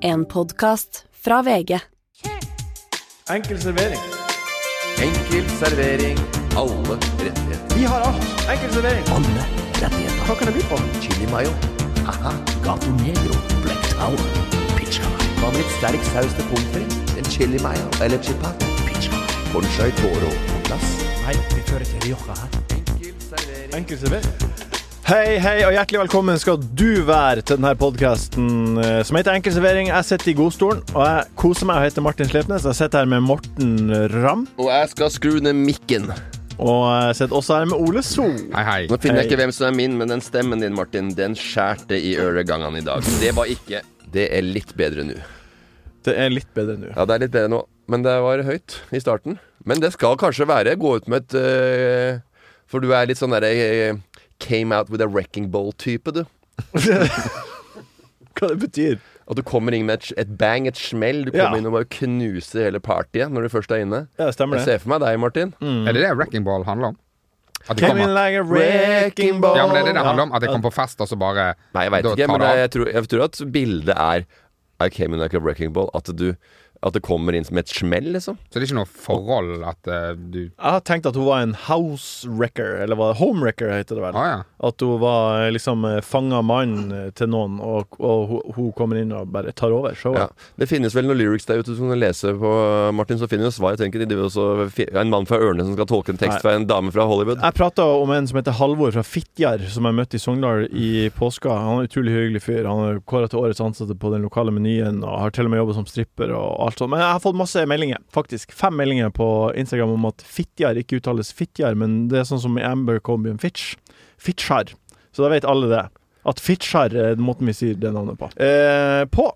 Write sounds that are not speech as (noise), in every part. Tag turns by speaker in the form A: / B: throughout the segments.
A: En podkast fra VG.
B: Enkel servering.
C: Enkel servering. Alle rettigheter.
B: Vi har alt. Enkel servering.
D: Alle rettigheter.
B: Hva kan det by på?
C: Chili mayo. Haha.
D: Gato Negro. Black Tower. Pizza.
C: Hva med litt sterk saus til pommes frites? En chili mayo eller chipat?
D: Pizza.
C: Conchai toro på plass.
D: Nei, vi fører til Rioja her.
C: Enkel servering.
B: Enkel servering. Hei, hei, og hjertelig velkommen skal du være til denne podkasten som heter Enkel servering. Jeg sitter i godstolen, og jeg koser meg og heter Martin Slepnes. Jeg sitter her med Morten Ramm,
C: Og jeg skal skru ned mikken.
B: og jeg sitter også her med Ole So.
E: Hei, hei.
C: Nå finner jeg
B: Hei.
C: ikke hvem som er min, men den stemmen din, Martin, den skjærte i øregangene i dag. Det var ikke Det er litt bedre nå.
B: Det er litt bedre nå.
C: Ja, det er litt bedre nå, men det var høyt i starten. Men det skal kanskje være gå ut med et eh, For du er litt sånn derre eh, came out with a wrecking ball-type, du.
B: Hva det betyr?
C: At du kommer inn med et, et bang, et smell. Du
B: Ja.
C: kommer inn og bare knuser hele partyet når du først er inne.
B: Ja, stemmer det.
C: Jeg
B: Mm.
C: ser for meg deg, Martin.
E: Er det det Wrecking Ball handler om? At de
B: Came in
E: kommer,
B: like a wrecking ball.
E: ja, men er det det
B: Ja.
E: handler om? At de kommer på fest, og så bare
C: Nei, jeg veit
E: Da
C: ikke,
E: tar
C: men
E: det av.
C: jeg tror, jeg tror at bildet er I came in like a wrecking ball. At, du, at det kommer inn som et smell, liksom.
E: Så det er ikke noe forhold at eh, du
B: Jeg har tenkt at hun var en housewrecker, eller hva homewrecker heter det vel.
E: Å ja.
B: At hun var eh, liksom eh, fanga mannen eh, til noen, og, og hun- hun kommer inn og bare tar over showet.
C: Ja. Det finnes vel noen lyrics der ute som du kan lese på, Martin, så finner du svar. Jeg tenker de driver også fi- En mann fra Ørne som skal tolke en tekst
B: Nei.
C: fra en dame fra Hollywood.
B: Jeg prata om en som heter Halvor fra Fitjar, som jeg møtte i Sogndal i påska. Han er en utrolig hyggelig fyr. Han er kåra til årets ansatte på den lokale menyen, og har til og med jobba som stripper og alt sånt. Men jeg har fått masse meldinger, faktisk. Fem meldinger på Instagram om at Fitjar ikke uttales Fitjar, men det er sånn som i Amber Comby and Fitch. Fitjar. Så da vet alle det. At Fitjar er den måten vi sier det navnet på. Eh, på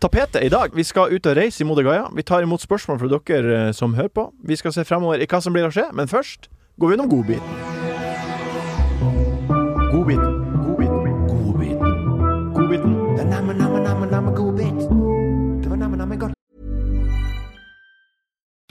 B: tapetet i dag. Vi skal ut og reise i Modigaya. Vi tar imot spørsmål fra dere eh, som hører på. Vi skal se fremover i hva som blir å skje, men først går vi innom godbiten. Godbiten. Godbiten. Godbiten.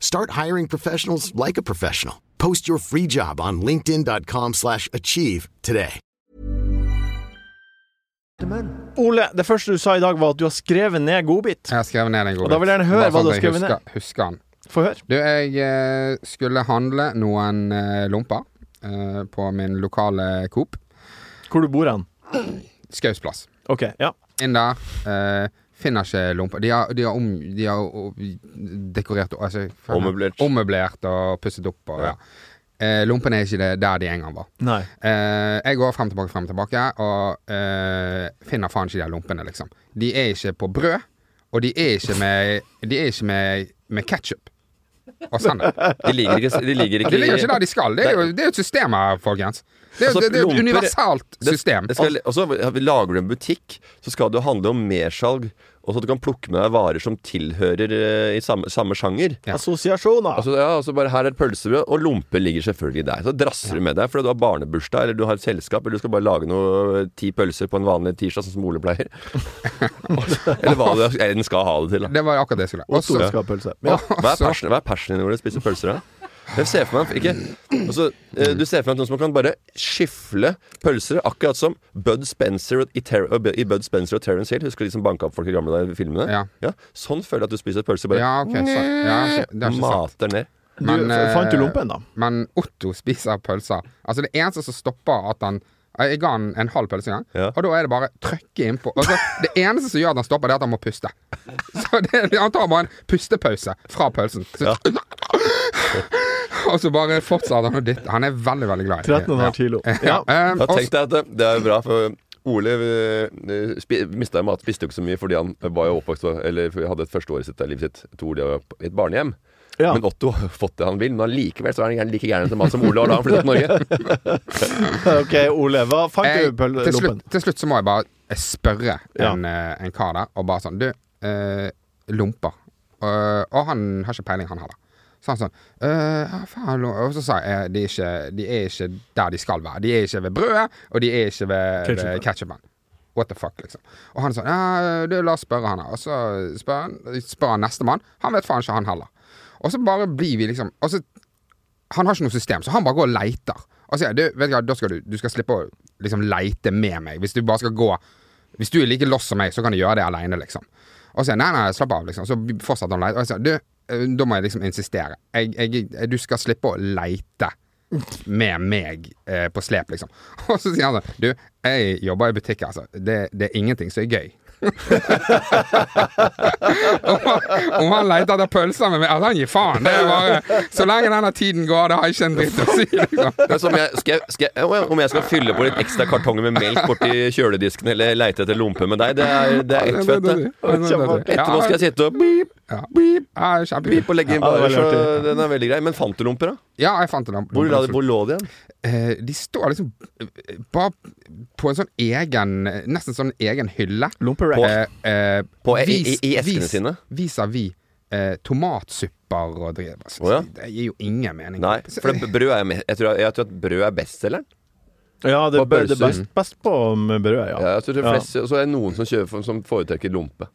F: Start hiring professionals like a professional. Post your free job on linkedin.com/achieve slash achieve today.
B: Ole, det første du sa i dag, var at du har skrevet ned godbit.
E: Jeg har skrevet ned en god
B: Og da vil jeg gjerne høre
E: Bare
B: hva du
E: at
B: har
E: jeg
B: skrevet
E: husker, ned. Husker han.
B: Få høre.
E: Du, jeg eh, skulle handle noen eh, lomper eh, på min lokale Coop.
B: Hvor du bor hen?
E: Skaus plass.
B: OK. Ja.
E: Inn der. eh, finner ikke lomper. De har, de har, om, de har o- dekorert og- altså,
C: Ommøblert.
E: ommøblert og pusset opp. Og, ja. Eh, lompene er ikke det der de en gang var.
B: Nei.
E: Eh, jeg går frem tilbake, frem tilbake, og eh, finner faen ikke de her lompene, liksom. De er ikke på brød, og de er ikke med, de er ikke med, med ketchup. Og
C: (laughs)
E: sennep.
C: De ligger ikke, de ligger ikke,
E: De ligger ikke der de skal. Det er jo, det er jo et system her, folkens. Det er,
C: Altså,
E: jo- det, det er jo et
C: lomper-
E: universalt
C: Det-
E: system.
C: det skal, og så lager du en butikk, så skal det jo handle om mersalg. Og så at du kan plukke med deg varer som tilhører eh, i samme, samme sjanger.
E: Ja.
B: Assosiasjoner.
C: Altså, ja, altså bare Her er et pølsebrød, og lompe ligger selvfølgelig der. Så drasser du med deg fordi du har barnebursdag, eller du har et selskap, eller du skal bare lage noe ti pølser på en vanlig tirsdag, sånn som Ole
E: (laughs)
C: pleier. eller hva du en skal ha det til. da.
E: Det var akkurat det jeg skulle.
B: og
E: Og så-
B: storskapelse. Ja.
C: Hva er passionen, hva er passionen din når du spiser pølser? da? Jeg ser for meg ikke altså, eh, Du ser for meg noen som kan bare skyfle pølser, akkurat som Bud Spencer og- i, Ter og Bu- i Bud Spencer og Terence Hill. Husker du de som banka opp folk i gamle dager i filmene?
E: Ja.
C: Sånn føler jeg at du spiser pølser. Bare
E: Ja, ok, så, ja, ok, det er ikke sant.
C: mater ned. eh,
E: eh,
B: Du, f- fant du lompen, da?
E: Men Otto spiser pølser. Altså, det eneste som stopper at han Jeg ga han en halv pølse en gang,
C: Ja.
E: og da er det bare trykke innpå. Altså, det eneste som gjør at han stopper, det er at han må puste. Så det, Han tar bare en pustepause fra pølsen. Så, (laughs) og så bare fortsetter han å dytte. Han er veldig, veldig glad i
B: 13,5 kilo. Ja.
E: Ja. Um,
C: Da
E: og-
C: tenkte jeg at det, det er bra, for Ole eh, spi- mista jo mat, spiste jo ikke så mye fordi han var jo oppvokst Eller hadde et første året sitt av livet sitt to år i et barnehjem.
B: Ja.
C: Men Otto har fått det han vil, men allikevel så er han gjerne like gæren etter mat som Ole var da han flytta til Norge.
B: OK, Ole. Hva fant
C: Eh,
E: Jeg-
B: du på
E: til,
B: lompen?
E: slutt, til slutt så må jeg bare spørre
B: Ja.
E: en, eh, en kar der, og bare sånn Du, eh, lomper. Eh, og han har ikke peiling, han heller. Så han sånn eh, ja, faen, lo- Og så sa jeg eh, de er, ikke, de er ikke der de skal være. De er ikke ved brødet, og de er ikke ved
B: Ketchupen.
E: ved ketchupen. What the fuck, liksom. Og han sånn Ja, du, la oss spørre han, da. Og så spør han, spør han nestemann. Han vet faen ikke, han heller. Og så bare blir vi liksom Og så han har ikke noe system, så han bare går og leiter. Og sier, du, vet du hva, da skal du, du skal slippe å liksom leite med meg, hvis du bare skal gå Hvis du er like lost som meg, så kan du gjøre det aleine, liksom. Og så sier jeg, nei, nei, slapp av, liksom. Så fortsetter han å leite. Og jeg sier, du, eh, da må jeg liksom insistere. Jeg, jeg, du skal slippe å leite med meg eh, på slep, liksom. (laughs) Og så sier han sånn, du, jeg jobber i butikk, altså. Det, det er ingenting som er gøy. (laughs) om, han- om han leter etter pølser med meg Altså, han gir faen. Det er bare Så lenge denne tiden går, det har jeg ikke en dritt å si, liksom.
C: Men som jeg, skal jeg, skal jeg, om jeg skal fylle på litt ekstra kartonger med melk borti kjøledisken eller leite etter lompe med deg, det er, det er ett fett, det. Etterpå skal jeg sitte og beep,
E: Ja.
C: beep,
E: Ja, kjempe-
C: beep og legge inn
B: Ja, det
C: barer,
B: var
C: så
B: artig.
C: den er veldig grei. Men fant du lomper, da?
E: Ja, jeg fant det. da.
C: Hvor, la, hvor lå de igjen?
E: Eh, De står liksom eh, bare på en sånn egen Nesten sånn egen hylle.
B: Lomperett.
E: Eh, eh,
C: På- i- i- i eskene
E: vis,
C: sine?
E: Vis-à-vis eh, tomatsupper og driv. Altså,
C: Å ja.
E: Det gir jo ingen mening.
C: Nei,
E: Så-
C: for det, brød er, jo me- jeg, tror, jeg tror at brød er bestselgeren.
B: Ja, det
C: På
B: bør det
C: pølser.
B: best, best på med brød, ja.
C: Ja, jeg tror det er flest, Og så er det noen som, kjøper, som foretrekker lompe.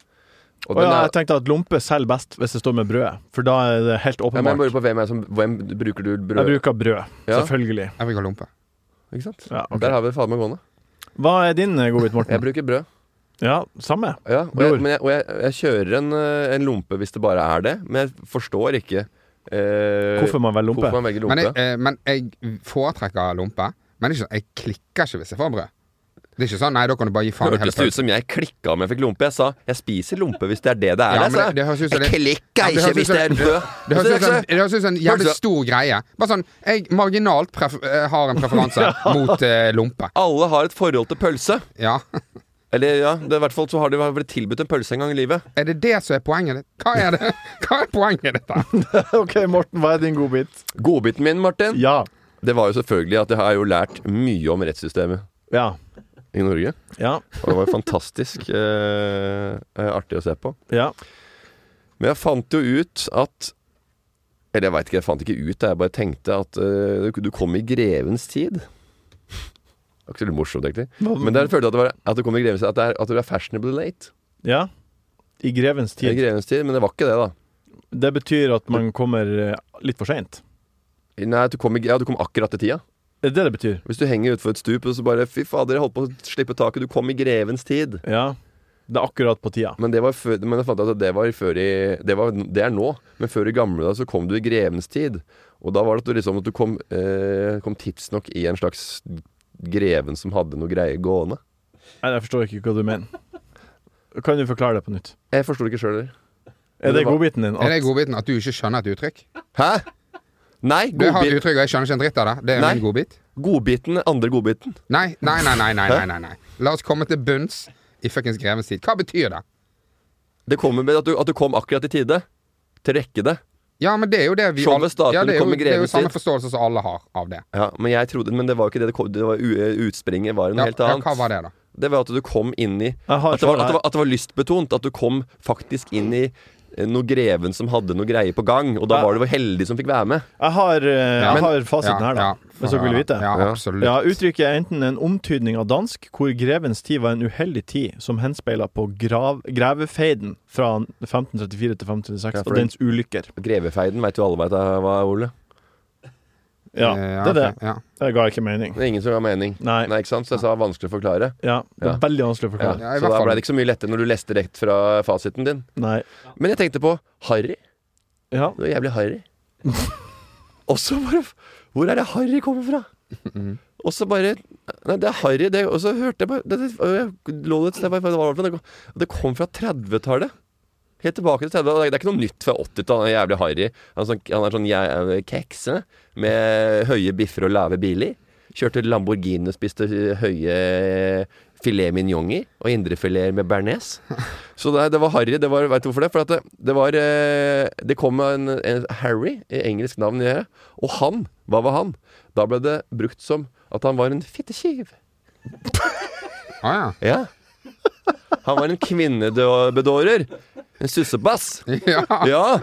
C: Og
B: Og
C: den
B: ja,
C: er,
B: jeg tenkte at lompe selger best hvis det står med brødet, for da er det helt
C: ja, men jeg
B: åpenbart.
C: lurer på hvem, er det som, hvem bruker du brød
B: Jeg bruker brød,
C: Ja.
B: selvfølgelig.
E: Jeg bruker lompe.
C: Ikke sant?
B: Ja, ok.
C: Der har vi det faen meg gående.
B: Hva er din eh, godbit,
C: Jeg
B: Morten?
C: bruker brød.
B: Ja, samme.
C: Ja, og
B: Bror.
C: jeg, men jeg, og jeg, jeg kjører en, eh, en lompe hvis det bare er det, men jeg forstår ikke eh,
B: Hvorfor man velger lompe?
C: hvorfor man velger lompe.
E: Men jeg, eh, men jeg foretrekker lompe. Men det er ikke sånn, jeg klikker ikke hvis jeg får brød. Det er ikke sånn, nei, da kan du bare gi faen i hele
C: Hørtes det ut
E: pølsen.
C: som jeg klikka om jeg fikk lompe? Jeg sa 'jeg spiser lompe hvis det er det det er'. jeg
E: Ja, men
C: sa.
E: det- det høres ut
C: jeg
E: som det- Ja,
C: klikka
E: men det
C: ikke
E: høres ut
C: hvis
E: som-
C: det Altså, er brød.
E: Det høres ut som
C: Så-
E: det høres ut som en jævlig
C: Hørtes-
E: stor greie. Bare sånn, jeg marginalt pref eh, har en
C: (laughs)
E: preferanse mot eh, lompe.
C: Alle har et forhold til pølse.
E: Ja.
C: Eller ja, det er i hvert fall så har de blitt tilbudt en pølse en gang i livet.
E: Er det det som er poenget ditt? Hva er det? (laughs) Hva er poenget ditt her?
B: (laughs) OK, Morten, hva er din godbit?
C: Godbiten min, Martin,
B: Ja.
C: det var jo selvfølgelig at jeg har jo lært mye om rettssystemet
B: Ja.
C: i Norge.
B: Ja.
C: Og det var jo fantastisk eh, eh, artig å se på.
B: ja.
C: Men jeg fant jo ut at Eller jeg veit ikke, jeg fant ikke ut det. Jeg bare tenkte at eh, du, du kom i grevens tid. Det var ikke så morsomt, egentlig.
B: Mm.
C: Men der følte jeg at det var at du kom i grevens tid. At, det er, at du er fashionably late.
B: ja. I grevens
C: I
B: tid.
C: grevens tid, men det var ikke det, da.
B: Det betyr at man kommer eh, litt for seint.
C: Nei, at du kom, i, ja, du kom akkurat til tida.
B: Er det det betyr?
C: Hvis du henger utfor et stup og så bare Fy fader, jeg holdt på å slippe taket. Du kom i grevens tid.
B: Ja. Det er akkurat på tida.
C: Men det var før, men jeg fant ut at det var før i det, var, det er nå, men før i gamle dager så kom du i grevens tid. Og da var det at du liksom at du kom, eh, kom tidsnok i en slags greven som hadde noe greie gående.
B: Nei, jeg forstår ikke hva du mener. Kan du forklare det på nytt?
C: Jeg forsto det ikke sjøl heller.
B: Er det godbiten din?
E: Er det
B: At,
E: godbiten at du ikke skjønner et uttrykk?
C: Hæ? Nei,
E: Du har et
C: godbit,
E: uttrykk, og jeg skjønner ikke en dritt av det. Det er
C: Nei.
E: min godbit.
C: godbiten. Andre godbiten.
E: Nei, nei, nei, nei, nei, nei, nei, nei. La oss komme til bunns i fuckings grevens tid. Hva betyr det?
C: Det kommer med at du, at du kom akkurat i tide. Til rekke det.
E: Ja, men det er jo det vi
C: Skjoldet
E: alle-
C: staten
E: ja, det er jo,
C: kommer
E: det er jo
C: grevens
E: samme
C: tid.
E: forståelse som alle har av det.
C: Ja, men jeg trodde Men det var jo ikke det det kom det var, u- Utspringet var noe
E: Ja,
C: helt
E: ja,
C: annet.
E: hva var det, da?
C: Det var at du kom inn i
B: Jeg har
C: at det, var,
B: svaret
C: at, det
B: her.
C: var, at det var lystbetont. At du kom faktisk inn i eh, noe greven som hadde noe greie på gang. Og da
B: Ja.
C: var du heldig som fikk være med.
B: jeg har, eh, jeg
E: men-
B: har fasiten
E: ja,
B: her, da.
E: ja,
B: hvis dere vil vite.
E: Ja,
C: Ja.
E: absolutt.
B: Ja, Uttrykket er enten en omtydning av dansk, hvor grevens tid var en uheldig tid som henspeila på grav, grevefeiden fra 1534 til 1536
C: Ja, for
B: og
C: den-
B: dens ulykker.
C: Grevefeiden veit jo alle veit hva er, Ole.
B: Ja,
E: Eh,
B: det er det.
E: ok, Ja.
B: Det ga ikke mening.
C: Det er ingen som har mening.
B: Nei.
C: Nei, ikke sant? Så jeg sa vanskelig å forklare.
B: Ja, det er
C: Ja.
B: veldig vanskelig å
C: Ja.
B: forklare.
E: Ja, i
C: så
E: hvert
C: da
E: fall.
C: ble det ikke så mye lettere når du leste rett fra fasiten din.
B: Nei.
C: Men jeg tenkte på harry.
B: Ja.
C: (laughs) Du er jævlig harry. Og så bare Hvor er det harry kommer fra? Og så bare Nei, det er harry, det. Og så hørte jeg bare Det, det, og jeg lå et sted, jeg bare, hva var det, for noe? Det kom- det kom fra 30-tallet. Helt tilbake til 30 Det er ikke noe nytt fra 80-tallet. Han er Jævlig harry. Han, er sånn- han er sånn jeg er kekse med høye biffer og lave biler. Kjørte Lamborghini og spiste høye filet mignoner og indrefileter med bearnés. Så det, det var harry. Det var, vet du hvorfor det? For at det, det var eh, Det kom en, en Harry, i engelsk navn, i det, og han Hva var han? Da ble det brukt som at han var en fittekiv.
E: Å Ah, ja.
C: Ja. Han var en kvinnebedårer. En sussebass.
E: Ja.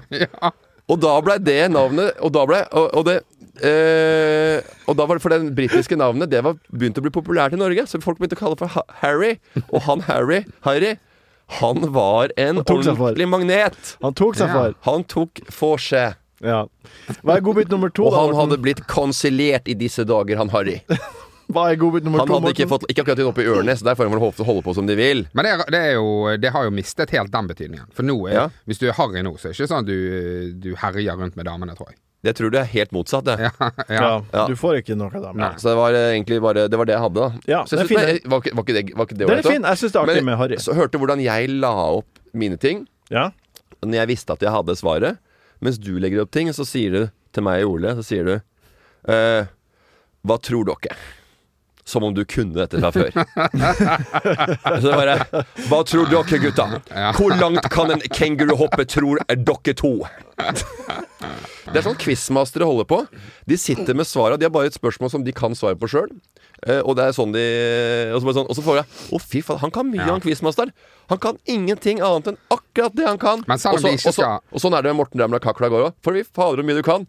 C: Ja. Og da blei det navnet Og da blei og, og det eh, og da var det For det britiske navnet Det var begynt å bli populært i Norge, så folk begynte å kalle det for Ha- Harry. Og han Harry, Harry, han var en
B: Han tok seg for.
C: ordentlig magnet.
B: Han tok seg
E: Ja.
B: for.
C: Han tok for seg.
B: Ja. Hva er godbit nummer to,
C: Og
B: da?
C: han
B: Morten?
C: hadde blitt konsiliert i disse dager, han Harry.
B: Hva er godbit nummer
C: Han
B: to?
C: hadde
B: Morten?
C: ikke fått Ikke akkurat oppe i ørene, så der får han vel holde- holde på som de vil.
E: Men det, er, det, er jo, det har jo mistet helt den betydningen. For nå er,
C: Ja.
E: hvis du er harry nå, så er det ikke sånn at du, du herjer rundt med damene, tror jeg.
C: Jeg tror det er helt motsatt, det.
E: Ja, ja.
B: ja.
C: Ja.
B: Du får ikke noe av dem.
C: Så det var eh, egentlig bare Det var det jeg hadde, da.
B: Ja,
C: så
B: det er
C: jeg
B: fint,
C: synes,
B: det.
C: nei, var, ikke- var ikke det var ikke det
B: Det er
C: ålreit, da?
B: fint. Jeg syns det er artig
C: Men
B: med harry.
C: Så hørte du hvordan jeg la opp mine ting
B: Ja.
C: Når jeg visste at jeg hadde svaret Mens du legger opp ting, så sier du til meg og Ole Så sier du eh, Hva tror dere? Som om du kunne dette fra
E: (laughs)
C: før Så det bare Hva tror dere gutta? Hvor langt kan en kenguru hoppe tror er dere to? Det er sånn quizmastere holder på De sitter med svaret De har bare et spørsmål som de kan svare på selv Eh, og det er sånn de Og så, bare sånn, og så får jeg Å fy faen, han kan mye han quizmasteren Han kan ingenting annet enn akkurat det han kan
E: Men selv om
C: Og så-
E: de ikke
C: og så-
E: skal-
C: Og sånn er det med Morten Ramla Kakla går også For vi fader hvor mye du kan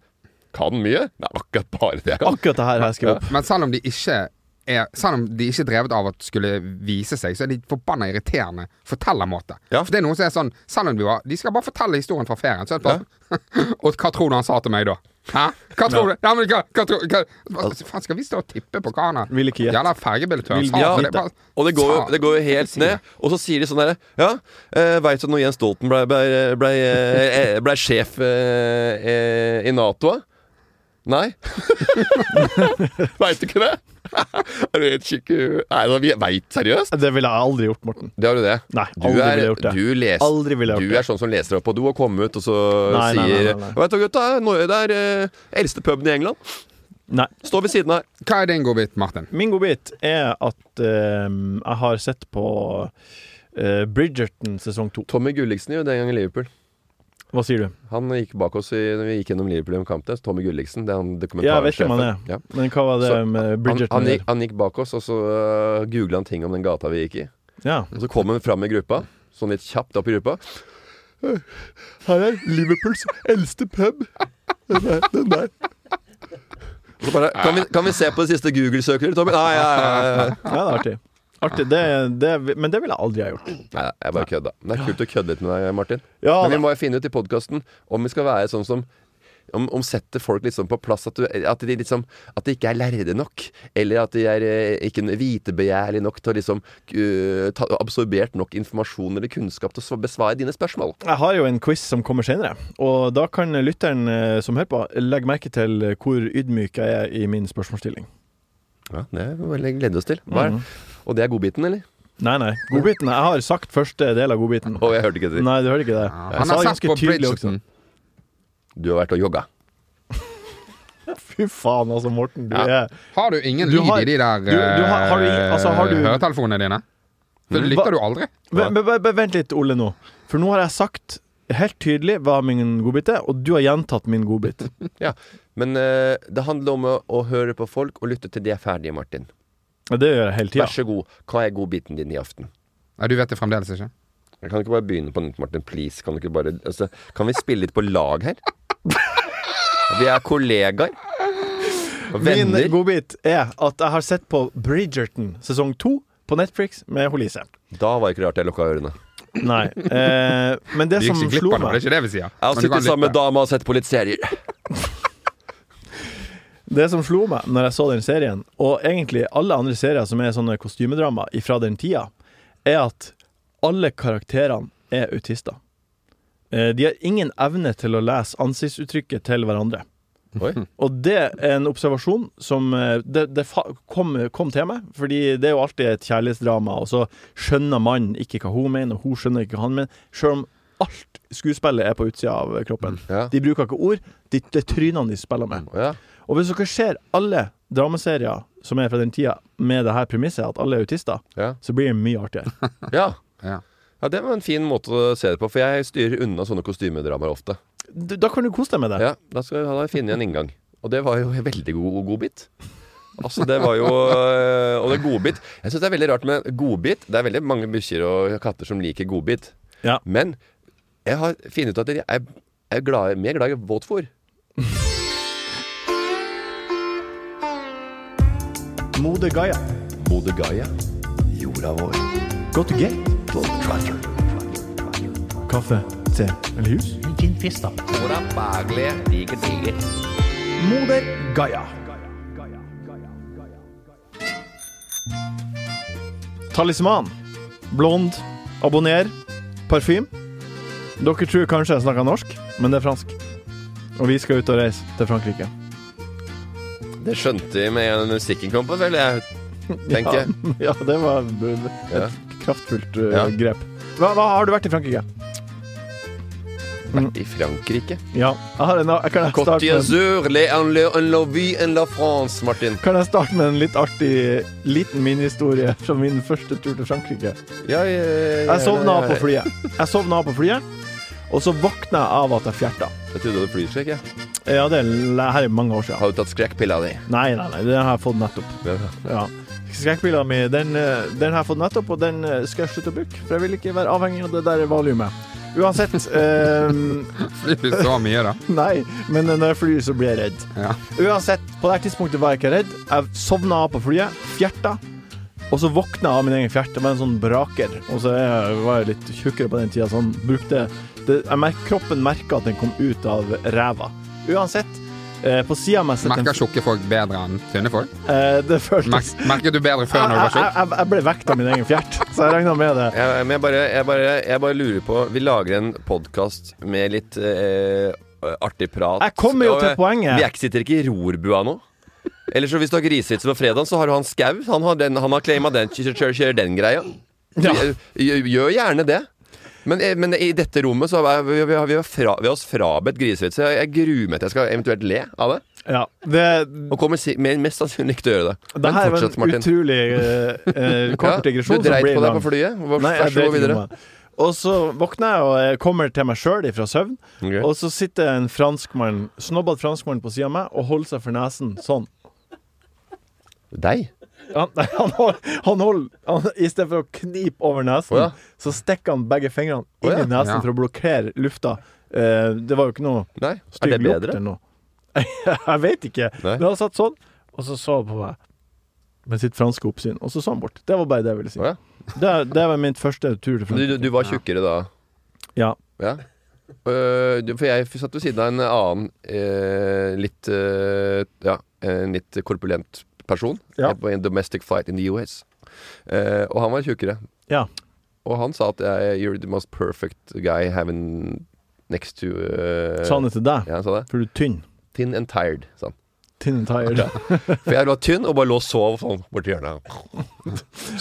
C: Kan mye? Nei, akkurat bare det jeg kan
B: Akkurat det her har jeg skrevet opp.
E: Men selv om de ikke er Selv om de ikke er drevet av at skulle vise seg, så er de forbanna irriterende fortellermåte.
C: Ja.
E: For det er noen som er sånn Selv om de var De skal bare fortelle historien fra ferien. Så er det bare (laughs) Og hva tror du han sa til meg da? Hæ? Hva tror du? Ja, men hva, hva tror hva, hva,
C: Altså-
E: Faen, skal vi stå og tippe på hva han har
B: Vil ikke gjette.
E: Jævla fergebillettør.
B: Vil-
E: sa,
C: ja,
E: for det er bare-
C: og det går, jo-
E: sa-
C: det går jo helt
E: sier
C: ned. Og så sier de sånn herre Ja, eh, veit du at når Jens Stoltenberg ble, ble, ble, eh, ble sjef eh, eh, i Nato? eh? (laughs) Nei. veit du ikke det? (laughs) er du helt kikk i huet? Nei, da, vi veit seriøst?
B: Det ville jeg aldri gjort, Morten.
C: Det har du det.
B: Nei,
C: Du
B: aldri
C: er-
B: ville jeg gjort det.
C: Du, les,
B: Aldri ville jeg gjort
C: du er sånn som leser opp på do og kommer ut, og så
B: Nei, nei, nei,
C: sier
B: nei, nei.
C: Veit du, gutta, Norge det er eh, eldste puben i England.
B: Nei.
C: Står ved siden her.
E: Hva er din godbit, Martin?
B: Min godbit er at eh, jeg har sett på eh, Bridgerton sesong to.
C: Tommy Gulliksen gjorde det en gang i Liverpool.
B: Hva sier du?
C: Han gikk bak oss i, når vi gikk gjennom Liverpool om kampen. Tommy Gulliksen. Det er han
B: Ja, jeg vet hvem
C: dokumentarsjefen.
B: han er.
C: Ja.
B: Men hva var det
C: Så,
B: med
C: Han,
B: Bridgerton?
C: han,
B: der?
C: gikk, han gikk bak oss, og så uh, googla han ting om den gata vi gikk i.
B: ja.
C: Og så kom han fram i gruppa, sånn litt kjapt opp i gruppa. Her er Liverpools eldste pub. Den der. Den der. Og Så bare, kan, vi, kan vi se på det siste Google-søket, Tommy? Nei, ja, ja, ja, ja.
B: ja, det er artig. artig. Det, det, men det ville jeg aldri ha gjort.
C: Nei, jeg bare kødda. Men Det er kult å kødde litt med deg, Martin.
B: Ja,
C: Men vi
B: da.
C: må jo finne ut i podkasten om vi skal være sånn som om, om setter folk liksom på plass at, du, at, de liksom, at de ikke er lærde nok. Eller at de er eh, ikke vitebegjærlige nok til å liksom eh, ta, absorbert nok informasjon eller kunnskap til å sv- besvare dine spørsmål.
B: Jeg har jo en quiz som kommer senere, og da kan lytteren eh, som hører på, legge merke til hvor ydmyk jeg er i min spørsmålsstilling.
C: Ja, Det gleder vi oss til. Hva er,
B: Mm.
C: Og det er godbiten, eller?
B: Nei, nei. Godbiten. Jeg har sagt første del av godbiten.
C: Å, jeg hørte ikke det.
B: Nei, du hørte ikke det.
E: Han
B: Jeg sa
E: har
B: det
E: sett
B: ganske
E: på
B: tydelig også.
E: Bridgerton.
C: Du har vært og jogga.
B: Fy faen, altså, Morten. Du
E: Ja.
B: er
E: Har du ingen
B: Du
E: lyd
B: har-
E: i de der
B: du- du har- har du i- altså, har du-
E: eh, høretelefonene dine? For lytter du aldri?
B: Men- men- men- men Vent litt, Ole, nå. For nå har jeg sagt helt tydelig hva min godbit er, og du har gjentatt min godbit.
C: Ja. Men eh, det handler om å, å høre på folk og lytte til de er ferdige, Martin.
B: Og det gjør jeg hele
C: Vær
B: tida.
C: så god. Hva er godbiten din i aften?
E: Ja, du vet det fremdeles ikke?
C: Jeg kan ikke bare begynne på nytt, Martin. Please. Kan, du ikke bare, altså, kan vi spille litt på lag her? Vi er kollegaer. Og
B: Min
C: venner.
B: godbit er at jeg har sett på Bridgerton sesong to på Netflix med Holise.
C: Da var det ikke rart jeg lukka ørene.
B: Nei. Eh, men det
E: Vi
B: som
E: gikk ikke
B: slo
E: glipp av noe, det er
B: meg
E: ikke det vi sier.
C: Jeg har
E: Men du kan
C: sittet sammen med
E: lytte.
C: dama og sett på litt serier.
B: Det som slo meg når jeg så den serien, og egentlig alle andre serier som er sånne kostymedrama fra den tida, er at alle karakterene er autister. Eh, De har ingen evne til å lese ansiktsuttrykket til hverandre.
C: (laughs) Oi.
B: Og det er en observasjon som eh, det, det fa kom, kom til meg, fordi det er jo alltid et kjærlighetsdrama, og så skjønner mannen ikke hva hun mener, og hun skjønner ikke hva han mener, selv om alt skuespillet er på utsida av kroppen.
C: Ja.
B: De bruker ikke ord, de, det er trynene de spiller med.
C: Å, ja.
B: Og hvis dere ser alle dramaserier som er fra den tida, med det her premisset at alle er autister,
C: Ja.
B: så blir det mye artigere. (laughs)
C: Ja.
E: Ja.
C: ja, det var en fin måte å se det på, for jeg styrer unna sånne kostymedramaer ofte.
B: D- Da kan du kose deg med det.
C: Ja, Da skal jeg ha deg finne en inngang. Og det var jo en veldig god godbit. Altså, det var jo øh, Og det er godbit. Jeg syns det er veldig rart med godbit. Det er veldig mange bikkjer og katter som liker godbit.
B: Ja.
C: Men jeg har funnet ut at jeg er, er glad, mer glad i våtfôr.
B: Mode Gaia.
C: Mode Gaia. Jorda vår.
B: Go to gate. Kaffe, te eller hus.
C: Jorda baglige. Diger, diger.
B: Moder Gaia. Talisman. Blond. Abonner. Parfym. Dere tror kanskje jeg snakker norsk, men det er fransk. Og vi skal ut og reise til Frankrike. (laughs)
C: Det skjønte jeg med en musikken kom på, vel. Jeg tenker jeg.
B: Ja, det var b- b- et
C: Ja.
B: kraftfullt uh,
C: Ja.
B: grep. Hva, hva Har du vært i Frankrike?
C: Vært i Frankrike.
B: Ja. Jeg har en, jeg kan, jeg
C: Côte
B: starte med,
C: d'Azur, le en le en la vie en la France, Martin.
B: kan jeg starte med en litt artig liten minihistorie fra min første tur til Frankrike?
C: Ja, jeg,
B: Jeg sovna på flyet. Jeg sovna på flyet, og så våkna jeg av at jeg fjerta.
C: Jeg trodde du hadde flyskrekk, jeg.
B: Ja, det er l- her er mange år siden.
C: Har du tatt skrekkpilla di?
B: Nei, nei, nei, den har jeg fått nettopp. Ja. Skrekkpilla mi, den, eh, den har jeg fått nettopp, og den eh, skal jeg slutte å bruke. For jeg vil ikke være avhengig av det der valiumet. Uansett (laughs) eh,
E: Flyr så mye,
B: (laughs)
E: da.
B: Nei, men når jeg flyr, så blir jeg redd.
E: Ja.
B: Uansett, på det her tidspunktet var jeg ikke redd. Jeg sovna av på flyet, fjerta, og så våkna jeg av min egen fjert. Det var en sånn braker. Og så er jeg, var jeg litt tjukkere på den tida, så han brukte det, jeg merk, Kroppen merka at den kom ut av ræva. Uansett, eh, på sida av meg sitter en-
E: Merker tjukke folk bedre enn tynne folk?
B: eh, Det føltes
E: Mer- Merket du bedre før
B: jeg,
E: når du var
B: jeg, (laughs)
E: tjukk?
B: jeg, jeg ble vekt av min egen fjert, så jeg regna med det.
C: Jeg, men jeg bare, jeg, bare, jeg bare lurer på Vi lager en podkast med litt eh, artig prat.
B: Jeg kommer jo til
C: Og, eh,
B: poenget.
C: Vi er ikke- sitter ikke i rorbua nå. Eller så hvis dere risitser på fredag, så har han skau. Han har, den- han har claima den, kjører- kjører kjører den greia.
B: Ja.
C: Gjør- Gjør gjerne det. Men, eh, men i dette rommet så er vi, vi, har, vi, har fra, vi har oss frabedt grisevitser. Jeg, jeg gruer meg til jeg skal eventuelt le av det.
B: Ja, det,
C: Og kommer si, mer- mest sannsynlig ikke til å gjøre det.
B: det her var en utrolig eh, eh, kort digresjon.
C: (laughs) Ja,
B: som
C: du dreit
B: blir
C: på deg
B: lang.
C: på flyet. Vær
B: Nei, jeg
C: vær så god
B: dreit ikke
C: videre.
B: om det. Og så våkner jeg og jeg kommer til meg sjøl ifra søvn.
C: Ok.
B: Og så sitter en franskmann, snobbete franskmann på sida av meg og holder seg for nesen sånn.
C: Deg?
B: Han, nei, han holder, han holder han, I stedet for å knipe over nesen,
C: Å ja.
B: så stikker han begge fingrene
C: Å
B: inn
C: ja.
B: i nesen
E: Ja.
B: for å blokkere lufta. Eh, det var jo ikke noe
C: Nei. Er det
B: stygg lukt
C: bedre?
B: eller noe. (laughs) jeg vet ikke.
C: Nei.
B: Men han satt sånn, og så så han på meg med sitt franske oppsyn, og så så han bort. Det var bare det jeg ville si.
C: Å ja.
B: det, det var min første tur til
C: Du,
B: Frankrike.
C: du, du var tjukkere da?
B: Ja.
C: Ja. Øh, du- for jeg satt ved siden av en annen eh, litt eh, Ja, en litt korpulent person.
B: Ja.
C: Jeg var i en domestic fight in the US. Eh, og han var tjukkere.
B: Ja.
C: Og han sa at jeg, 'you're the most perfect guy having next to eh,
B: Sa han det til deg?
C: Ja, han sa det.
B: For du er tynn.
C: Thin and tired, sa han.
B: Tynn and tired.
C: For jeg var tynn og bare lå og sov sånn borti hjørnet.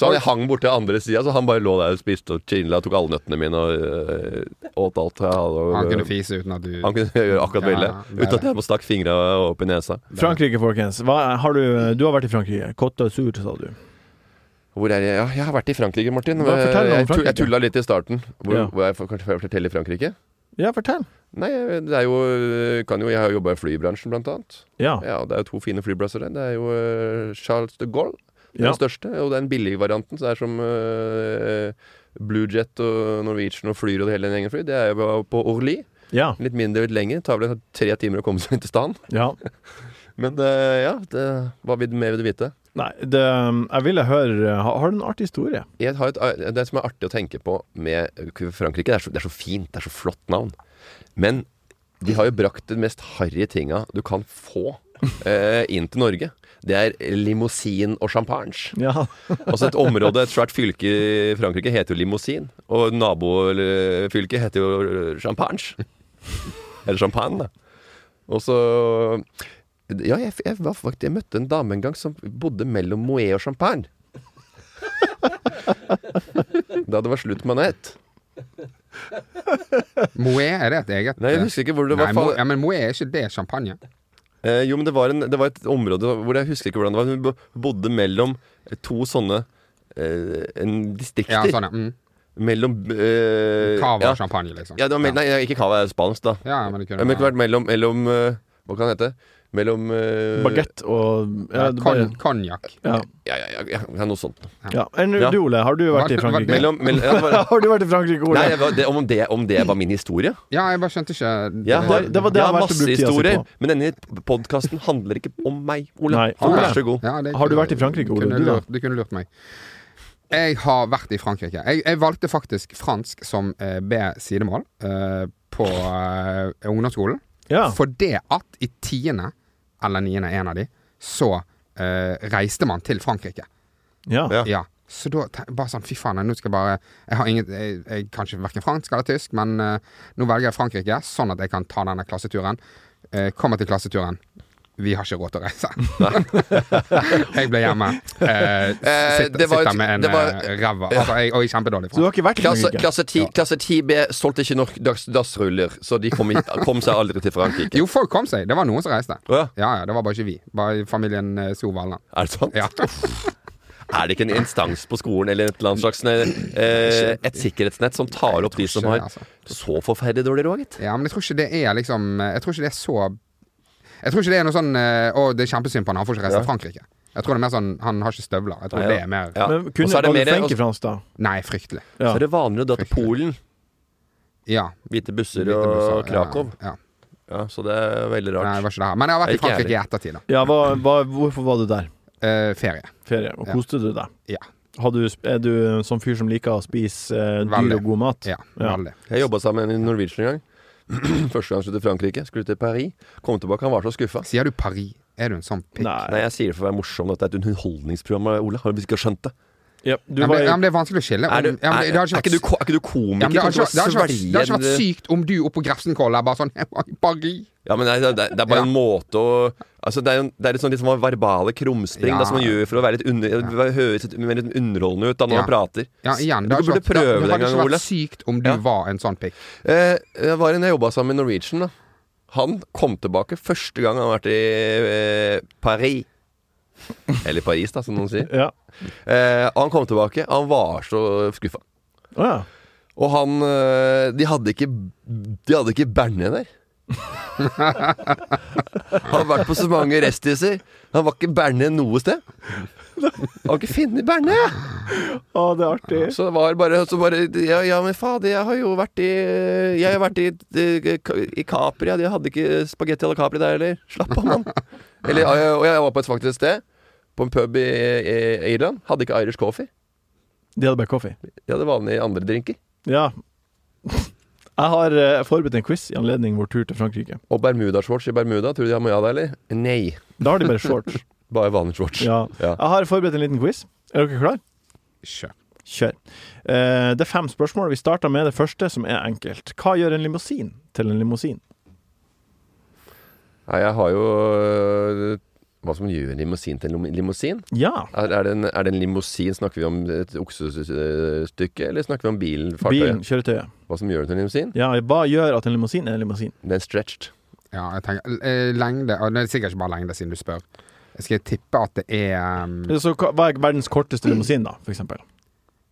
C: Så han hang borti andre sida, så han bare lå der og spiste og chilla, tok alle nøttene mine og øh, åt alt jeg hadde. Og,
E: Han kunne fise uten at du
C: Han kunne (laughs) gjøre akkurat
E: Ja,
C: ville,
E: det er
C: uten at jeg må stakke fingra opp i nesa.
B: Frankrike, folkens. Hva, har du, du har vært i Frankrike. Côte d'Azur, sa du.
C: Hvor er jeg? Ja, jeg har vært i Frankrike, Martin.
B: Hva, fortell om
C: jeg, tu-
B: Frankrike.
C: jeg tulla litt i starten. Hvor,
B: Ja.
C: hvor jeg, for, kanskje jeg forteller Frankrike?
B: Ja, fortell.
C: Nei, det er jo, øh, kan jo Jeg har jobba i flybransjen, blant annet.
B: Ja.
C: Ja, og det er jo to fine flyplasser der. Det er jo eh, Charles de Gaulle, det
B: Ja.
C: er den største, og det er den billige varianten. Så det er som eh, Bluejet og Norwegian og Flyr og hele den gjengen fly. Det er jo på Orly.
B: Ja.
C: Litt mindre, litt lenger. Tar vel tre timer å komme seg til staden.
B: ja.
C: Men eh, ja, det, hva vil, mer vil du vite?
B: Nei, det, um, jeg ville høre Har har du en artig historie?
C: jeg har et, eh, det som er artig å tenke på med Frankrike, det er, så, det er så fint, det er så flott navn. Men de har jo brakt den mest harry tinga du kan få eh, inn til Norge. Det er limousin og champagne.
B: Ja.
C: Altså et område, et svært fylke i Frankrike heter jo limousin, og nabofylket heter jo champagne. Eller champagne, da. Og så Ja, jeg, jeg, var faktisk, jeg møtte en dame en gang som bodde mellom Moët og Champagne. da det var slutt med nett.
E: Moët, er det et eget
C: Nei, jeg husker ikke hvor det
E: Nei,
C: var.
E: Mo,
C: faen-
E: ja, men Moët er ikke det champagne?
C: Eh, jo, men det var, en, det var et område hvor jeg husker ikke hvordan det var. Hun bo- bodde mellom to sånne eh, en distrikter.
E: Ja, sånn, ja. Mm.
C: Mellom eh,
E: Cava
C: ja.
E: og champagne, liksom.
C: Ja, det var mell- Nei, ikke Cava er spansk, da.
E: Ja, men det kunne
C: Men det kunne
E: være
C: vært mellom, mellom eh, Hva kan det hete? Mellom eh,
B: Bagett og ja,
E: ja,
B: det
E: kon,
B: bare,
E: Konjakk.
B: ja.
C: Ja, ja, ja, ja, ja noe sånt.
B: ja. Enn
C: Ja.
B: du, Ole, har du vært i
E: Hva- hva-
B: Frankrike?
C: Mellom, mellom ja, det var,
B: (laughs) Har du vært i Frankrike, Ole?
C: Nei, jeg var- det, om, det, om det var min historie?
E: Ja, jeg bare skjønte ikke
C: Jeg har,
B: det var det
C: jeg
B: han valgte å
C: har masse
B: bruke tida si
C: historier,
B: på.
C: men denne podkasten handler ikke om meg, Ole.
B: Nei.
C: Så
B: Ole.
C: vær så god.
E: Ja,
B: Har
E: det
B: du
E: kunne-
B: vært i Frankrike, Ole?
E: Kunne
B: Du da?
E: lurt, du kunne lurt meg. Jeg har vært i Frankrike. Jeg, jeg valgte faktisk fransk som eh, B-sidemål eh, på eh, ungdomsskolen.
B: Ja.
E: Fordi at i tiende eller niende, en av de, så eh, reiste man til Frankrike.
B: Ja.
C: Ja.
E: Ja. Så da te- bare sånn, fy faen, nå skal jeg bare Jeg har ingen Jeg, jeg kan ikke verken fransk eller tysk, men eh, nå velger jeg Frankrike, sånn at jeg kan ta denne klasseturen. Eh, kommer til klasseturen. Vi har ikke råd til å reise.
C: (laughs)
E: jeg ble hjemme. Eh,
C: Eh,
E: sitter,
C: det var et-
E: sitter med en
C: det var-
E: eh, ræva. Altså, jeg, og jeg er kjempedårlig
B: Så du
E: fransk.
B: har ikke vært i
C: Klasse,
B: Frankrike?
C: klasse, 10, klasse 10B solgte ikke nok dass- dassruller, så de kom, i- kom seg aldri til Frankrike.
E: Jo, folk kom seg. Det var noen som reiste.
C: Å ja.
E: Ja, ja, Det var bare ikke vi. Bare familien eh, So Valand.
C: Er det sant?
E: Ja.
C: Er det ikke en instans på skolen eller et eller annet slags eh, et sikkerhetsnett som tar opp de som
E: ikke det,
C: har
E: altså.
C: så forferdelig dårlig råd, gitt?
E: ja, men jeg tror ikke det er liksom Jeg tror ikke det er så Jeg tror ikke det er noe sånn eh, Å, det er kjempesynd på han, han får ikke reise til Frankrike. Jeg tror det er mer sånn Han har ikke støvler. Jeg tror
C: Ja.
E: det er mer
C: Ja.
B: Men
C: Og
B: kunne
C: så er
B: var
C: det
B: du
C: mer-
B: flink
C: og-
B: i fransk, da?
E: Nei, fryktelig.
B: Ja.
C: Så er det vanligere å dra til
E: Fryktelig.
C: Polen.
E: Ja.
C: Hvite busser
E: Hvite busser,
C: og Krakow.
E: Ja, ja.
C: Ja, så det er veldig
E: Nei, det
C: rart.
E: var ikke det her. Men jeg har vært i
C: Ikke jeg
E: Frankrike i ettertid, da.
B: Ja, hva, hva, hvorfor var du der?
E: Eh, ferie.
B: Ferie. Og
E: Ja.
B: koste du deg?
E: Ja.
B: Har du, er du en sånn fyr som liker å spise eh, dyr
E: Veldig.
B: og god mat?
E: Ja,
B: Ja.
E: veldig.
C: Jeg jobba sammen med en norwegian en gang. Første gang (clears throat) jeg skulle til Frankrike. Skulle til Paris. Kom tilbake, han var så skuffa.
E: Sier du Paris? Er du en sånn pikk?
B: Nei.
C: Nei, jeg sier det for å være morsom. Dette er et underholdningsprogram, Ole. Har du ikke skjønt det?
B: Ja, du
E: Ja, men,
B: var
E: det-
B: i
E: ja, men det er vanskelig å skille. Om,
C: Er, du,
E: ja, men det, det
C: er,
E: har
C: er,
E: ikke vært
C: ikke, du, ko- er ikke du komiker?
E: ja, men det, har
C: Kan
E: ikke,
C: ikke
E: vært- det, har ikke vært,
C: svelge
E: det har ikke vært
C: en-
E: sykt om du oppe på Grefsenkoll er bare sånn (laughs) Jeg var i Paris.
C: Ja, men det, er- det, er- det er bare
E: Ja.
C: en måte å altså, Det er, jo- det er litt sånn, litt sånn verbale krumspring
E: Ja.
C: da, som man gjør for å være litt under, høres litt mer litt underholdende ut da, når
E: Ja.
C: man prater.
E: Ja, igjen.
C: Du
E: Det har
C: burde
E: ikke vært, det,
C: prøve
E: det
C: det en
E: hadde
C: gang,
E: ikke
C: Ole.
E: vært sykt om du
C: Ja.
E: var en sånn pikk.
C: Eh, jeg var en jeg jobba sammen med Norwegian. da Han kom tilbake første gang han har vært i eh, Paris. Eller Paris, da, som noen sier.
B: Ja.
C: Eh, han kom tilbake. Han var så skuffa.
B: Å ja.
C: Og han eh, De hadde ikke De hadde ikke Bernet der. (laughs) han har vært på så mange resthuser. Han var ikke Bernet noe sted. Han har ikke funnet Bernet!
B: Å, det er artig.
C: Så det var bare, så bare ja, ja, men fader, jeg har jo vært i Jeg har vært i, i, i Capri. Jeg hadde ikke spagetti eller Capri der heller. Slapp av, mann. Eller, ja, ja, og jeg var på et faktisk sted. På en pub i, i Irland. Hadde ikke Irish coffee.
B: De hadde bare kaffe.
C: De hadde vanlige andre drinker.
B: Ja. (laughs) Jeg har eh, forberedt en quiz i anledning vår tur til Frankrike.
C: Og bermudashorts i Bermuda. Tror du de har moja der, eller? Nei.
B: Da har de bare (laughs) shorts.
C: Bare vanlig shorts.
B: Ja.
C: Ja.
B: Jeg har forberedt en liten quiz. Er dere klare?
E: Kjør.
B: Kjør. Eh, det er fem spørsmål. Vi starter med det første, som er enkelt. Hva gjør en limousin til en limousin?
C: Nei, jeg har jo øh, Hva som gjør en limousin til en lim- limousin?
B: Ja.
C: Er, er, det en, er det en limousin? Snakker vi om et oksestykke, eller snakker vi om bilen?
B: Bilen,
C: Fartøyet?
B: kjøretøyet.
C: Hva som gjør den til en limousin?
B: Ja, hva gjør at en limousin er en limousin?
C: Den er stretched.
E: Ja, jeg tenker eh, Lengde og Det er sikkert ikke bare lengde, siden du spør. Jeg skal tippe at det er um,
B: Så hva- hva er verdens korteste limousin, da, for eksempel?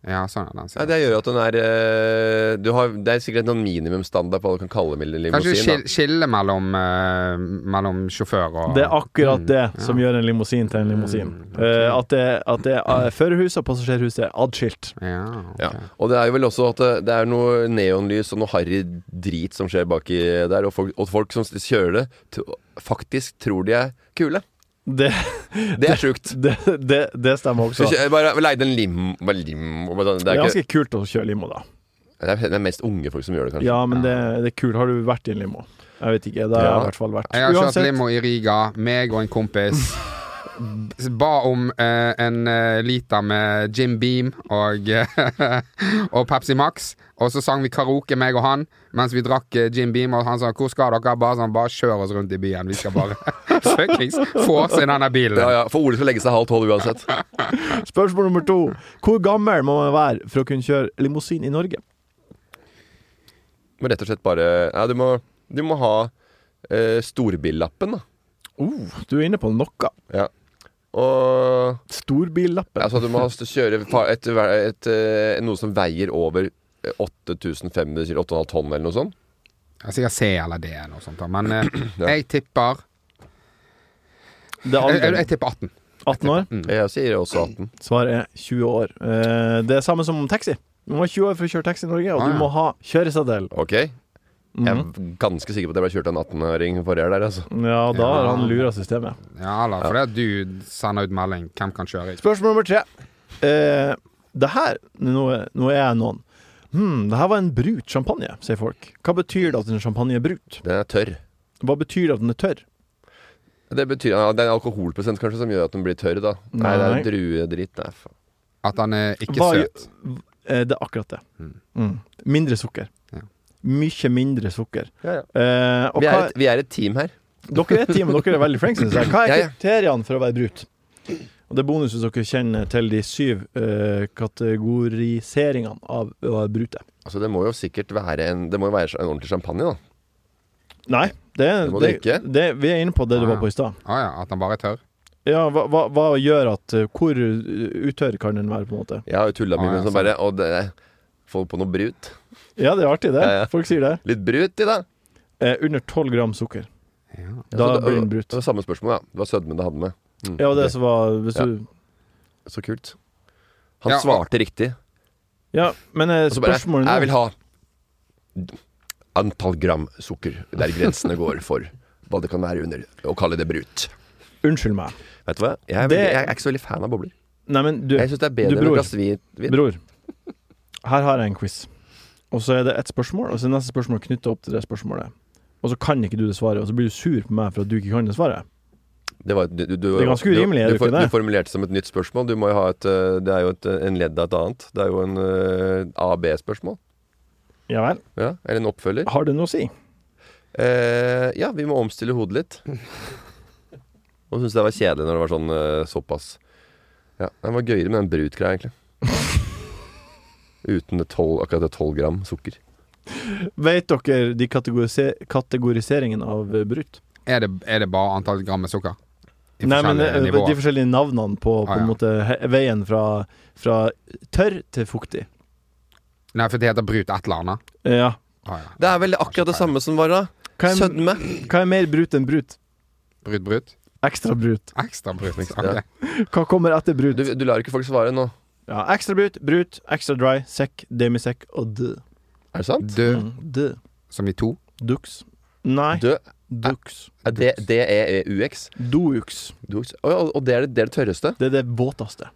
E: Ja, sånn er den.
C: Nei,
E: ser jeg.
C: det gjør at den er øh, du har, Det er sikkert noen minimumsstandard på hva du kan kalle en
E: Kanskje du
C: limousin.
E: skil- skille mellom, eh, mellom sjåfør og
B: Det er akkurat
E: Mm,
B: det som
E: ja.
B: gjør en limousin til en limousin.
E: Mm,
B: Eh, at det, at det er førerhuset og passasjerhuset er adskilt.
E: Ja, ok.
C: Ja. Og det er jo vel også at eh, det- det er noe neonlys og noe harry drit som skjer baki der, og folk, og folk som kjører det, t faktisk tror de er kule.
B: Det,
C: Det er (laughs) sjukt.
B: det, det, det stemmer
C: Så
B: også.
C: kjø- bare leide en lim, bare lim og bare sånn.
B: Det
C: Det
B: er
C: er, ikke,
B: ganske kult å kjøre limo, da.
C: det er- det er mest unge folk som gjør det, kanskje.
B: Ja, men det, det er kult. Har du vært i en limo? Jeg vet ikke. Det har jeg
C: Ja.
B: i hvert fall vært.
E: Jeg har kjørt
B: Uansett,
E: limo i Riga, meg og en kompis. ba om eh, en eh, liter med Jim Beam og, eh, (laughs) og Pepsi Max. Og så sang vi karaoke, meg og han, mens vi drakk eh, Jim Beam. Og han sa 'Hvor skal dere?' Bare sånn, bare kjør oss rundt i byen. Vi skal bare (laughs) fuckings få oss i denne bilen.
C: Ja, ja, For Ole skal legge seg halv tolv uansett.
B: Spørsmål nummer to. Hvor gammel må man være for å kunne kjøre limousin i Norge?
C: Men rett og slett bare Nei, du må, du må ha eh, storbillappen, da.
B: Oh, du er inne på noe.
C: Ja. Og
B: Storbillappen.
C: Altså, du må ha- kjøre fa- et, et, eh, noe som veier over 8500 kilo, 8,5 tonn eller noe sånt.
E: Jeg sikkert C eller D eller noe sånt. da.
C: (clears throat)
E: Men eh, jeg tipper
B: Det er
E: jeg, jeg, jeg
B: alderen.
E: tipper 18.
B: 18 år.
E: Mm.
C: Jeg sier også 18.
B: Svaret er 20 år. Eh, Det er samme som taxi. Du må ha 20 år for å kjøre taxi i Norge, og
E: Ah,
B: du
E: ja.
B: må ha kjøreseddel. Mm.
C: Ok? Jeg er
E: Mm.
C: ganske sikker på at jeg ble kjørt av en 18-åring forrige helg der, altså.
B: Ja, da har han lura systemet.
E: Ja, eller fordi at du sender ut melding 'Hvem kan kjøre?'
B: Spørsmål nummer tre. Eh, det her nå, er- nå er jeg noen. Hmm, det her var en brut champagne, sier folk. Hva betyr det at en champagne er brut?
C: Den er tørr.
B: Hva betyr det at den er tørr?
C: Det betyr ja, Det er en alkoholprosent kanskje som gjør at den blir tørr, da.
B: Nei.
C: Nei, det er druedritt. Nei, faen.
E: At han er ikke
B: Hva gjør-
E: søt.
B: Eh, det er akkurat det.
C: Hmm.
B: Mm. Mindre sukker.
E: Ja.
B: Mye mindre sukker.
C: Ja, ja.
B: Eh, og
C: Vi, er
B: hva,
C: et, (laughs) vi er et team her.
B: dere er teamet, dere er veldig flinke, synes jeg. Hva
C: Ja,
B: er
C: ja.
B: kriteriene for å være brut? Og det er bonus hvis dere kjenner til de syv eh, kategoriseringene av å være brute.
C: Altså, det må jo sikkert være en Det må jo være en ordentlig champagne, da.
B: Nei, det,
C: Du må
B: det,
C: drikke.
B: det, vi er inne på det du
E: Ah,
B: var på i stad.
E: Å ja, at han bare er tørr.
B: Ja, hva, hva, hva gjør at eh, Hvor eh, utørr kan den være, på en måte?
C: Jeg har jo tulla mye
E: Ah, ja,
C: med sånn bare Og det Folk på noe brut.
B: Ja, det er artig, det.
C: Ja, ja.
B: Folk sier det.
C: Litt brut i, da.
B: Eh, under 12 gram sukker.
E: Ja.
B: Da
C: Altså, det-
B: blir den brut.
C: Det var samme spørsmål, ja. Det var sødmen det hadde med. Mm.
B: Ja, det som var hvis
C: Ja.
B: du
C: Så kult. Han
E: Ja.
C: svarte riktig.
B: Ja, men eh,
C: Og så bare
B: spørsmålet
C: Jeg vil
B: nå
C: ha antall gram sukker der grensene går for hva det kan være under. Å kalle det brut.
B: Unnskyld meg.
C: Vet du hva? Jeg er,
B: Det-
C: veldig, jeg er ikke så veldig fan av bobler.
B: Nei, men du,
C: Jeg syns det er
B: du
C: bedre med
B: bror.
C: et glass hvit- vin.
B: bror. Her har jeg en quiz. Og så er det ett spørsmål, og så er neste spørsmål knytta opp til det spørsmålet. Og så kan ikke du det svaret, og så blir du sur på meg for at du ikke kan det svaret.
C: Det, var, du, du,
B: Det er ganske urimelig, er det ikke
C: du, for-
B: det?
C: Du formulerte som et nytt spørsmål. Du må jo ha et øh, Det er jo et, øh, en ledd av et annet. Det er jo en AB-spørsmål.
B: Ja vel.
C: Ja, eller en oppfølger.
B: Har det noe å si?
C: Eh, ja, vi må omstille hodet litt. Og syntes det var kjedelig når det var sånn eh, såpass. Ja, Det var gøyere med den brut-greia, egentlig. Uten det 12, akkurat det tolv gram sukker.
B: Vet dere de kategorise kategoriseringene av eh, brutt?
E: Er det, er det bare antall gram med sukker? I
B: Nei, men
E: forskjellige
B: eh,
E: nivåer.
B: De forskjellige navnene på, på
E: Ah, ja.
B: en måte he- veien fra, fra tørr til fuktig.
E: Nei, for det heter brut et eller annet.
B: Eh, Ja.
E: Ah, ja.
C: Det er vel akkurat det samme som var da.
B: Hva er,
C: Sødme.
B: hva er mer brut enn brut?
E: Brut, brut.
B: Ekstra brut.
E: Ekstra brut. liksom.
C: Ekstra.
E: Ok.
B: Hva kommer etter brut?
C: Du, du lar ikke folk svare nå.
B: Ja, ekstra brut, brut, ekstra dry, sekk, demisekk og d.
C: Er det sant?
E: Død,
B: Mm, d.
E: som i to.
B: Dux. Nei,
C: Død.
B: dux.
C: Er eh, det det er UX.
B: Doux.
C: Du, Å ja, og det er det, det er det tørreste?
B: Det er det våteste.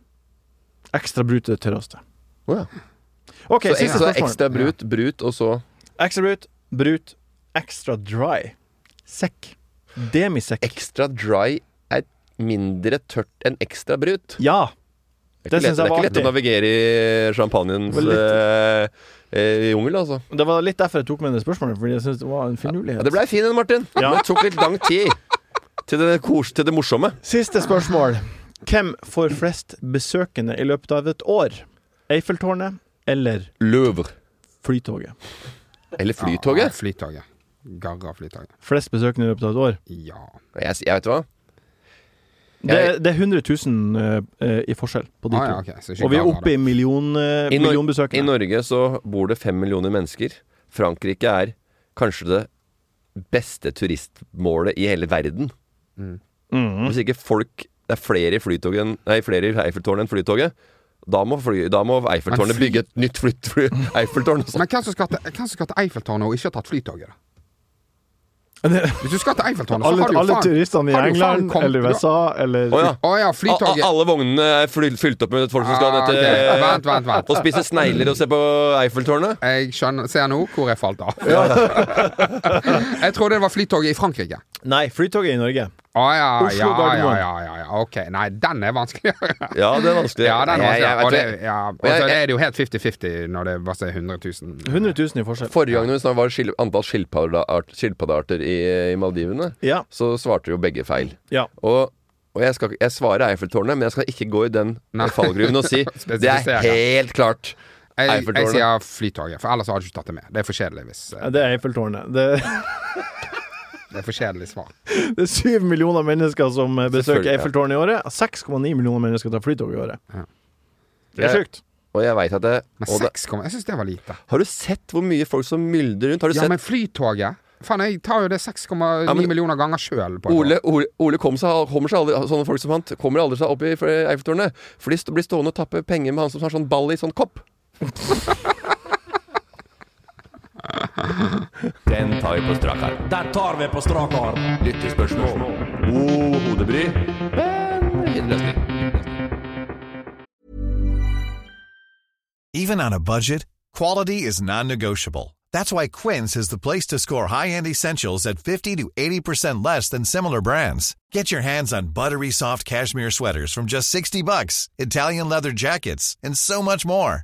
B: Ekstra brut er det tørreste.
C: Å ja.
B: OK,
C: så
B: siste
C: ekstra,
B: spørsmål.
C: ekstra brut, brut, og så
B: Ekstra brut, brut, ekstra dry. Sekk. Demisekk.
C: Ekstra dry er mindre tørt enn ekstra brut.
B: Ja.
C: Det
B: Det
C: er
B: synes
C: ikke, lett, det
B: jeg
C: er
B: var
C: ikke lett å navigere i champagnens
B: Det var
C: eh, eh, jungel, altså.
B: Det var litt derfor jeg tok med det spørsmålet, fordi jeg syntes det var en finurlighet.
C: Ja, det blei fin en, Martin.
B: Ja.
C: Det tok litt lang tid til det, kos, til det morsomme.
B: Siste spørsmål. Hvem får flest besøkende i løpet av et år? Eiffeltårnet eller
C: Louvre.
B: Flytoget?
C: Eller
E: Ja,
C: Flytoget.
E: flytoget. Garra flytoget.
B: Flest besøkende i løpet av et år.
E: Ja.
B: Ah.
C: Jeg, s- jeg vet hva.
B: Det,
C: Jeg-
B: det er 100 000 eh, eh, i forskjell på de
E: Ah, ja,
B: to.
E: ok. Så ikke
B: Og vi er
E: Garra,
B: oppe i million, eh,
C: I Nor- I
B: (laughs) millionbesøkende.
C: Norge så bor det fem millioner mennesker. Frankrike er kanskje det beste turistmålet i hele verden.
B: Mhm.
C: Hvis ikke folk Det er flere i, flytoget enn- nei, flere i Eiffeltårnet enn Flytoget. Da må, fly, da må Eiffeltårnet
E: fly-
C: bygge et nytt flyt, fly, Eiffeltårn.
E: da. Men hvem som skal til, hvem som skal til Eiffeltårnet og ikke har tatt flytoget, da? Hvis du skal til Eiffeltårnet, så
B: Alle,
E: har du jo
B: alle
E: faen-
B: turistene i
E: har du faen
B: England
E: kommet-
B: eller USA eller
C: Å ja.
E: Å
C: A-
E: ja,
C: a-
E: flytoget.
C: Alle vognene er fly, fylt opp med folk som skal
E: Ah,
C: ned til
E: ok. Vent, vent, vent.
C: Og spise snegler og se på Eiffeltårnet.
E: (laughs) Jeg skjønner, ser nå hvor jeg falt av. jeg trodde det var flytoget i Frankrike.
B: Nei, flytoget i Norge.
E: Å Ah, ja,
B: Oslo,
E: ja, ja,
B: Gardermoen.
E: ja, ja, ja. Ok. Nei, den er vanskeligere.
C: (laughs) Ja, det er vanskelig.
E: Ja, den er
C: Jeg- jeg-
E: vanskeligere. Og det,
C: jeg-
E: ja, og
C: jeg-
E: så er det jo helt 50-50 når det bare er 100 000.
B: 100 000 i forskjell.
C: Forrige gang det var skil, antall skilpaddeart- skilpaddearter i, i Maldivene,
B: Ja.
C: så svarte jo begge feil.
B: ja.
C: Og, og jeg, skal, ikke- jeg svarer Eiffeltårnet, men jeg skal ikke gå i den fallgruven og
E: (laughs)
C: si det er
E: Spesifisere.
C: helt klart.
E: Jeg, jeg
C: Eiffeltårnet.
E: sier Flytoget, for ellers hadde du ikke tatt det med. Det er for kjedelig hvis eh,
B: Ja, Det er Eiffeltårnet. Det, (laughs)
E: Det er for kjedelig svar.
B: det er syv millioner mennesker som eh,
C: Selvfølgelig,
B: besøker
C: ja.
B: Eiffeltårnet i året. 6,9 millioner mennesker tar flytog i året.
E: Ja.
B: Det er sjukt.
C: Og jeg veit at det,
E: Men
C: og det
E: seks kommer Jeg syns det var lite.
C: Har du sett hvor mye folk som myldrer rundt? Har du
E: Ja,
C: sett
E: men Flytoget Faen, jeg tar jo det 6,9
C: Ja, men-
E: millioner ganger sjøl.
C: Ole, Ole, Ole kom seg, kommer seg aldri, altså, sånne folk som han t- kommer aldri seg opp i Eiffeltårnet. For de st- blir stående og tappe penger med han som har sånn ball i sånn kopp. Den tar vi på strak arm.
D: Der tar vi på strak arm.
C: Lyttespørsmål. God hodebry. Men fin løsning.
G: Even on a budget, quality is non-negotiable. That's why Quince is the place to score high-end essentials at 50 to 80% less than similar brands. Get your hands on buttery soft cashmere sweaters from just 60 bucks, Italian leather jackets, and so much more.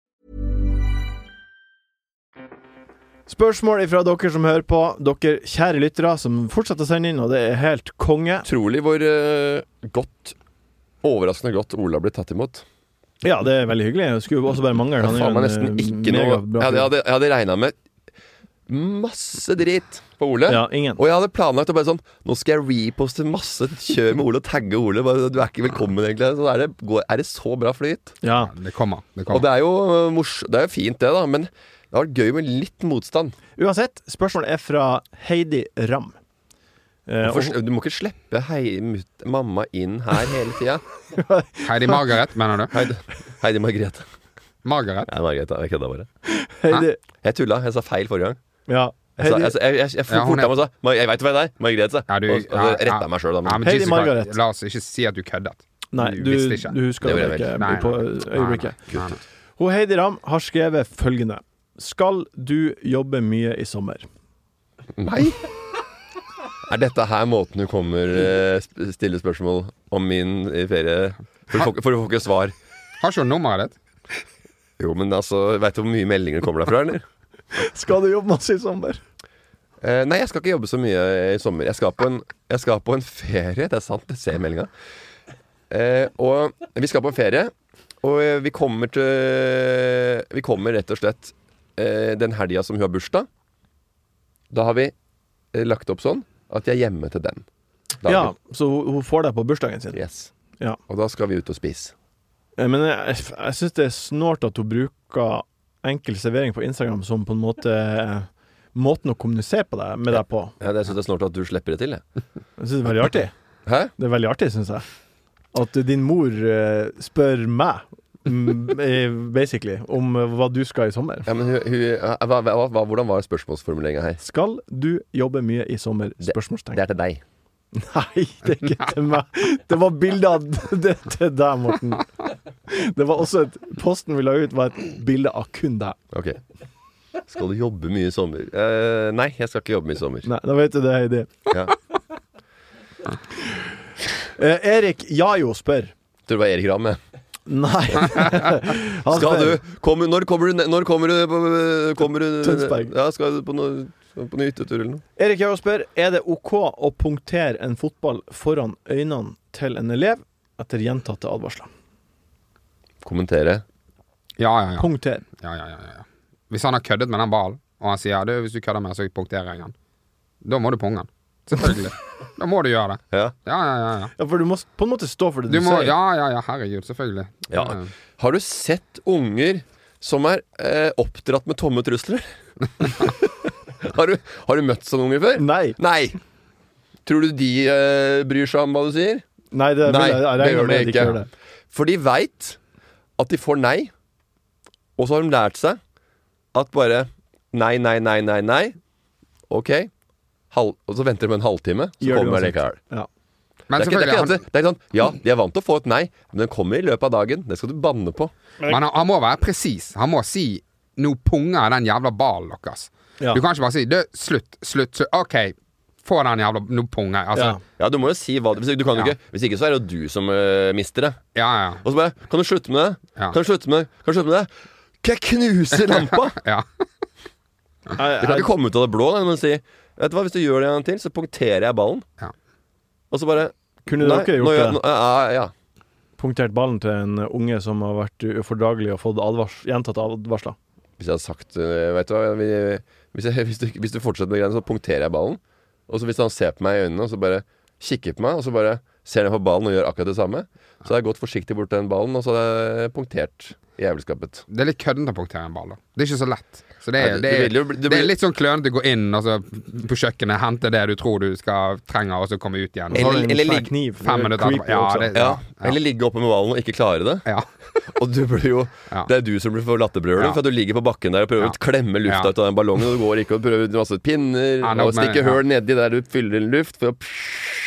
B: Spørsmål ifra dere som hører på. Dere kjære lyttere som fortsetter å sende inn, og det er helt konge.
C: Utrolig hvor eh, godt Overraskende godt Ola ble tatt imot.
B: Ja, det er veldig hyggelig. Jeg skulle jo også bare mangle.
C: Jeg
B: Han er jo
C: faen
B: en,
C: meg nesten
B: eh,
C: ikke noe
B: megabra
C: Jeg hadde, jeg
B: fyr.
C: hadde, jeg hadde regna med masse drit på Ole.
B: Ja, ingen.
C: Og jeg hadde planlagt å bare sånn Nå skal jeg reposte masse kjør med Ole og tagge Ole. Bare, du er ikke velkommen, egentlig. Så er det, går, er det så bra flyt.
B: Ja.
E: Det kommer. Det
C: Og
E: kommer.
C: det er jo øh, mors Det er jo fint, det, da. Men det har vært gøy med litt motstand.
B: Uansett, spørsmålet er fra Heidi Ram. Eh, og-
C: For, du må ikke slippe hei, mut, mamma inn her hele (laughs) tida.
E: Heidi Margaret, mener du?
C: Heidi, Heidi Margrethe.
E: Margaret?
C: Nei, Margrethe. Jeg kødda bare.
B: Heidi,
C: Jeg tulla. Jeg sa feil forrige gang.
B: ja.
C: Jeg, sa,
B: Heidi,
C: jeg, jeg, jeg, jeg
E: Ja, hun
C: forta
E: er-
C: meg og sa "Mar- Jeg veit hvem det er. Margrethe.
E: Ja, du-
C: og, og så
E: ja,
C: retta
E: ja.
C: jeg meg sjøl, da.
E: Ja,
C: Men,
E: men
B: Heidi
E: Jesus Christ,
B: Margaret.
E: La oss ikke si at du køddet.
B: nei,
E: du
B: du,
E: visste ikke.
B: du husker
C: Det
B: det
C: gjorde jeg
B: ikke
E: Nei, nei.
B: på
E: Nei, nei.
B: øyeblikket. Hun Heidi Ram har skrevet følgende. Skal du jobbe mye i sommer?
E: (laughs)
C: Meg? Er dette her måten du kommer eh, sp- stille spørsmål om min eh, ferie For du får, ikke- for du får ikke svar.
E: Har ikke hun nummeret ditt?
C: Jo, men altså Veit du hvor mye meldinger det kommer derfra, eller?
B: Skal du jobbe masse i sommer?
C: Eh, nei, jeg skal ikke jobbe så mye i sommer. Jeg skal på en, jeg skal på en ferie. Det er sant, det ser jeg i meldinga. Eh, og vi skal på en ferie, og eh, vi kommer til Vi kommer rett og slett eh, den helga som hun har bursdag. Da har vi eh, lagt opp sånn at jeg er hjemme til den. Da er
B: Ja, så hun, hun får deg på bursdagen sin.
C: vi- Yes.
B: Ja.
C: Og da skal vi ut og spise.
B: Eh, Men jeg, jeg syns det er snålt at hun bruker enkel servering på Instagram som på en måte eh, Måten å kommunisere på deg, med deg på.
C: Ja, det syns jeg er snart at du slipper det til. jeg.
B: Jeg syns det er veldig artig.
C: Hæ?
B: Det er veldig artig, syns jeg. At din mor eh, spør meg, mm, eh, basically, om eh, hva du skal i sommer.
C: Ja, men hun, hun, ja, hva, hva, hva, hvordan var spørsmålsformuleringa her?
B: Skal du jobbe mye i sommer?
C: Det- Det
B: Spørsmålstegn.
C: er til deg.
B: (laughs) Nei, det er ikke til meg. Det var bilde av (laughs) det til deg, Morten. Det var også et Posten vi la ut, var et bilde av kun deg.
C: Ok. Skal du jobbe mye i sommer? Eh, nei, jeg skal ikke jobbe mye i sommer.
B: Nei, da vet du det, Heidi.
C: Ja.
B: Eh, Erik Jajo spør.
C: Tror det var Erik Ramm, jeg. (laughs)
B: Nei. Han
C: Skal
B: spør-
C: du kommer- Når kommer du, ne- når kommer du på kommer du,
B: Tønsberg.
C: Ja, skal du på noe på noe hyttetur eller noe?
B: Erik Jajo spør Er det ok å punktere en fotball foran øynene til en elev etter gjentatte advarsler.
C: Kommentere.
E: Ja, ja, ja.
B: Punkter.
E: ja, ja, ja, ja. Hvis han har køddet med den ballen, og han sier du, hvis du kødder med den, så punkterer jeg den, da må du punge den. Selvfølgelig. Da må du gjøre det.
C: Ja.
E: Ja, ja, ja. ja.
B: Ja, for du må s- på en måte stå for det
E: Du
B: du,
E: må,
B: sier.
E: ja, ja, ja, herregud, selvfølgelig.
C: Ja. Har du sett unger som er eh, oppdratt med tomme trusler? (laughs) har, du, har du møtt sånne unger før?
B: Nei.
C: Nei! Tror du de eh, bryr seg om hva du sier?
B: Nei, det,
C: Nei,
B: vil jeg, jeg
C: det
B: regner
C: gjør
B: med
C: det
B: at de
C: ikke.
B: ikke gjør det.
C: For de veit at de får nei, og så har de lært seg at bare nei, nei, nei, nei, nei. Ok. Halv, og så venter de en halvtime, så
B: Gjør det
C: kommer det
B: uansett.
C: likevel.
B: Ja.
E: Men
C: Det er, ikke, det, er
E: selvfølgelig,
C: ikke,
E: han,
C: alltid- det er ikke sånn Ja, de er vant til å få et nei, men den kommer i løpet av dagen. Det skal du banne på.
E: men han, han må være presis. Han må si 'nå punger den jævla ballen deres'.
B: Ja.
E: Du kan ikke bare si 'du, slutt, slutt, slutt'. OK, få den jævla 'nå punger'. Altså,
B: Ja.
C: Ja, du må jo si hva du vil. Du kan jo
E: Ja.
C: ikke Hvis ikke så er det jo du som øh, mister det.
E: ja, ja.
C: Og så bare Kan du slutte med det?
E: Ja.
C: Kan du slutte med det? Kan du slutte med det? Kan jeg knuse lampa?
E: ja.
C: Det kan ikke komme ut av det blå, da, men si Vet du hva, hvis du gjør det en gang til, så punkterer jeg ballen.
E: Ja.
C: Og så bare
B: Kunne
C: nei,
B: dere
C: nå
B: gjort
C: gjør-
B: det?
C: nå- ja, ja, ja.
B: Punktert ballen til en unge som har vært ufordragelig og fått advars, gjentatte advarsler?
C: Hvis jeg hadde sagt øh, Vet du hva vi, hvis, jeg, (laughs) hvis, du, hvis du fortsetter med greiene, så punkterer jeg ballen. Og så hvis han ser på meg i øynene, og så bare kikker på meg, og så bare ser ned på ballen og gjør akkurat det samme, så hadde jeg gått forsiktig bort til den ballen, og så hadde jeg punktert jævelskapet.
E: Det er litt køddent å punktere en ball, da. Det er ikke så lett. Så det
C: Nei,
E: er,
C: det-
E: det
C: det
E: er,
C: vil jo bli- det
E: det
C: blir-
E: er litt sånn klønete å gå inn altså, på kjøkkenet, hente det du tror du skal trenger, og så komme ut igjen.
B: Og så har du Sånn en
C: Eller-
B: svær
C: eller-
B: kniv. Det er
E: Fem minutter
B: creepy
E: etterpå. Ja,
B: også.
E: det,
C: Ja,
E: ja,
C: Eller ligge oppe med ballen og ikke klare det.
E: ja.
C: Og du blir jo
E: Ja.
C: Det er du som blir for latterbrølet
E: Ja.
C: for at du ligger på bakken der og prøver
E: Ja.
C: å klemme lufta
E: Ja,
C: ut av den ballongen, og du går ikke og prøver ut masse pinner
E: Ja, nå
C: og
E: må-
C: stikker
E: ja.
C: høl nedi der du fyller inn luft for å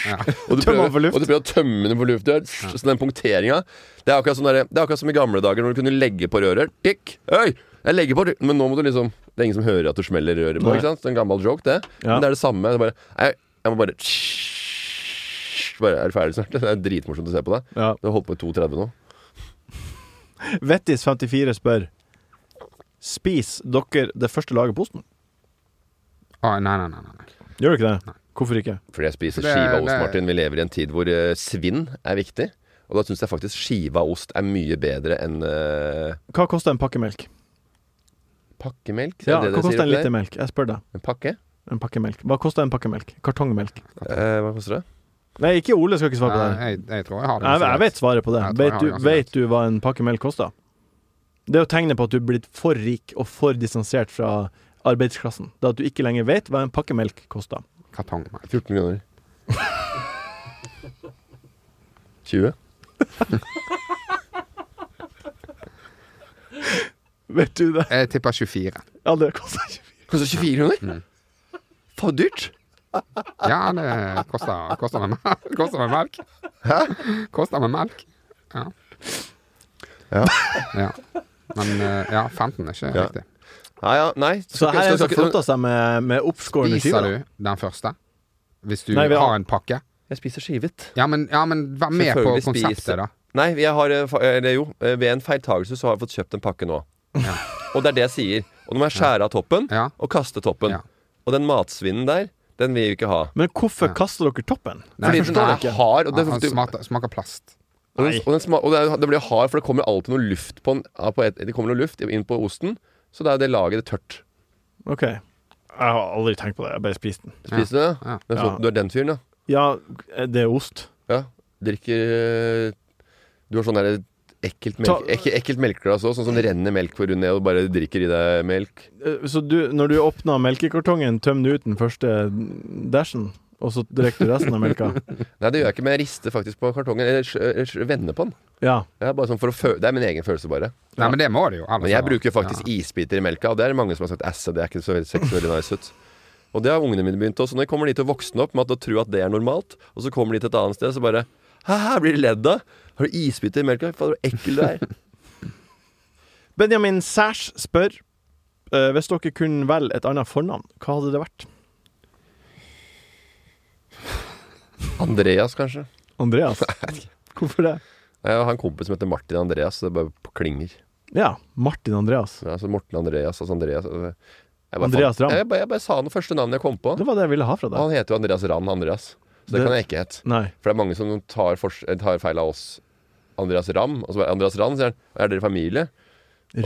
E: Ja.
C: og, du
B: Tømme
C: prøver,
B: den for luft.
C: og du prøver å tømme den for luft. Ja. Så den punkteringa det er, akkurat sånn der, det er akkurat som i gamle dager når du kunne legge på røret. Tikk! Øy! Jeg legger på røret. Men nå må du liksom Det er ingen som hører at du smeller røret på.
B: Nei.
C: Ikke sant? Det er en gammel joke, det.
B: Ja.
C: Men det er det samme. Det er bare, jeg, jeg må bare Bare Er du ferdig snart? (laughs) Det er dritmorsomt å se på deg.
B: Ja.
C: Du har holdt på i 2.30 nå.
B: Vettis54 spør Spis dere det første laget på osten?
E: Å, nei, nei, nei, nei. nei.
B: Gjør dere ikke det? Hvorfor ikke?
C: Fordi jeg spiser
E: For det-
C: skiva ost,
E: det-
C: Martin. Vi lever i en tid hvor eh, svinn er viktig. Og da syns jeg faktisk skiva ost er mye bedre enn eh,
B: Hva koster en pakke melk?
C: pakkemelk. Er
B: Ja,
C: det
B: hva
C: det dere sier
B: koster en
C: oppi der?
B: liter melk? Jeg spør deg.
C: En pakke?
B: En pakke melk. Hva koster en pakke melk? Kartongmelk.
C: Eh, hva koster det?
B: Nei, ikke Ole skal ikke svare på det.
E: Nei,
B: her.
E: Jeg, jeg tror jeg har det.
B: Jeg, jeg
E: ganske
B: vet svaret på det.
E: Jeg tror jeg
B: Vet
E: har
B: du,
E: det ganske
B: vet du hva en pakke melk koster? Det er jo tegnet på at du er blitt for rik og for distansert fra arbeidsklassen. Det er at du ikke lenger vet hva en pakke melk koster.
E: lett. Kartongmelk.
C: 14 (laughs) millioner. 20?
B: Vet du det?
E: Jeg tipper 24.
B: Ja, det koster ikke mye.
C: Koster 24
B: Mm.
C: kroner? Faen dyrt!
E: Ja, det koster, koster, med, mel- koster med melk. (laughs) Koster med melk. Ja.
C: Ja.
E: ja. Men eh, ja, 15 er ikke
C: Ja.
E: riktig.
C: Nei, ja, nei.
B: Så her er en
C: skal-
B: som
C: skal-
B: flotter seg med, med oppskårne
E: Spiser
B: skiver.
E: du den første? Hvis du
B: Nei, vi har-
E: har en pakke?
C: Jeg spiser skivet.
E: Ja, men, ja, men vær med på
C: Selvfølgelig spiser-
E: konseptet, da.
C: Nei, jeg har, eh, fa- eller jo, eh, ved en feiltagelse så har jeg fått kjøpt en pakke nå.
E: Ja.
C: (laughs) Og det er det jeg sier. Og nå må jeg skjære av toppen
E: Ja.
C: og kaste toppen.
E: Ja.
C: Og den matsvinnen der, den vil vi ikke ha.
B: Men hvorfor
E: Ja.
B: kaster dere toppen?
E: Nei,
C: Fordi
E: for
C: den
E: den
C: er
E: er ikke-
C: hard, og det,
E: han
C: du,
E: smaker, smaker plast.
C: og den, og den, sma- og det, er- det blir hard, for det kommer alltid noe luft på den. ja, På et, det kommer noe luft inn på osten, så det er det laget det er tørt.
B: OK. Jeg har aldri tenkt på det. Jeg bare spiser den.
C: Spiser du det?
E: Ja.
C: Det er sånn-
B: Ja.
C: Du er den fyren, ja.
B: Ja, det er ost.
C: ja. Drikker eh, Du har sånn der ekkelt, melk,
B: Ta-
C: ek, ekkelt melkeglass òg, sånn som renner melk for ned og bare drikker i deg melk.
B: Eh, Så du, når du åpna melkekartongen, tømte du ut den første dashen, og så drakk du resten av melka? (laughs)
C: Nei, det gjør jeg ikke, men jeg rister faktisk på kartongen. Eller, sj- eller sj- vender på den.
B: Ja.
C: Det er, bare sånn for å føle, det er min egen følelse, bare.
E: Nei, men det må det jo. ellers
C: Men jeg
E: er det-
C: bruker faktisk
E: ja.
C: isbiter i melka, og det er det mange som har sagt æsj, det er ikke så veldig seksuelt nice ut. Og det har ungene mine begynt også. Når de kommer de til å voksne opp med at å tro at det er normalt, og så kommer de til et annet sted, så bare Hæ, blir de ledd av? Har du isbiter i melka? Fader, så ekkel du er.
B: Benjamin Sæsj spør eh, Hvis dere kunne velge et annet fornavn, hva hadde det vært?
C: Andreas, kanskje.
B: (laughs) Andreas? Hvorfor det?
C: Jeg har en kompis som heter Martin Andreas, så det bare klinger.
B: Ja, Martin Andreas.
C: Ja, så Morten Andreas, altså Andreas øh, jeg bare,
B: Andreas
C: fant-
B: Ramm.
C: Jeg, bare- jeg bare sa det første navnet jeg kom på.
B: Det var det jeg ville ha fra
C: Og
B: deg.
C: han heter jo Andreas Rand Andreas, så det,
B: Det-
C: kan jeg ikke hete.
B: Nei.
C: For det er mange som tar, fors- eh, tar feil av oss. Andreas Ramm. Og så bare Andreas Rand, sier han. Er dere familie?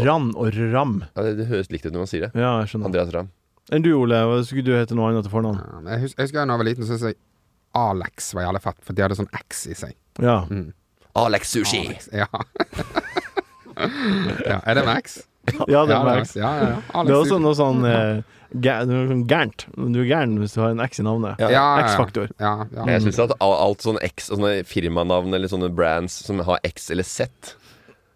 B: Rann og Ram.
C: Ja, det, det høres likt ut når man sier det.
B: Ja, jeg skjønner.
C: Andreas Ramm.
B: Enn du, Ole? Hva Skulle du hete noe annet til fornavn?
E: Ja, men Jeg husker, jeg husker da jeg var liten, så syntes jeg Alex var jævlig fett, for de hadde sånn X i seg.
B: Ja.
C: Alex Sushi.
E: Alex. Ja. (laughs) ja. Er det med X?
B: ja, det
E: Ja,
B: var
E: det er
B: X.
E: X. Ja, ja, ja. Alex
B: Det er også
E: Sushi.
B: noe sånn eh, gæ- noe sånn gærent. Du er gæren hvis du har en X i navnet.
E: ja, ja, ja.
B: X-faktor.
E: Ja, ja.
C: Jeg syns at a- alt sånn X og sånne firmanavn eller sånne brands som har X eller Z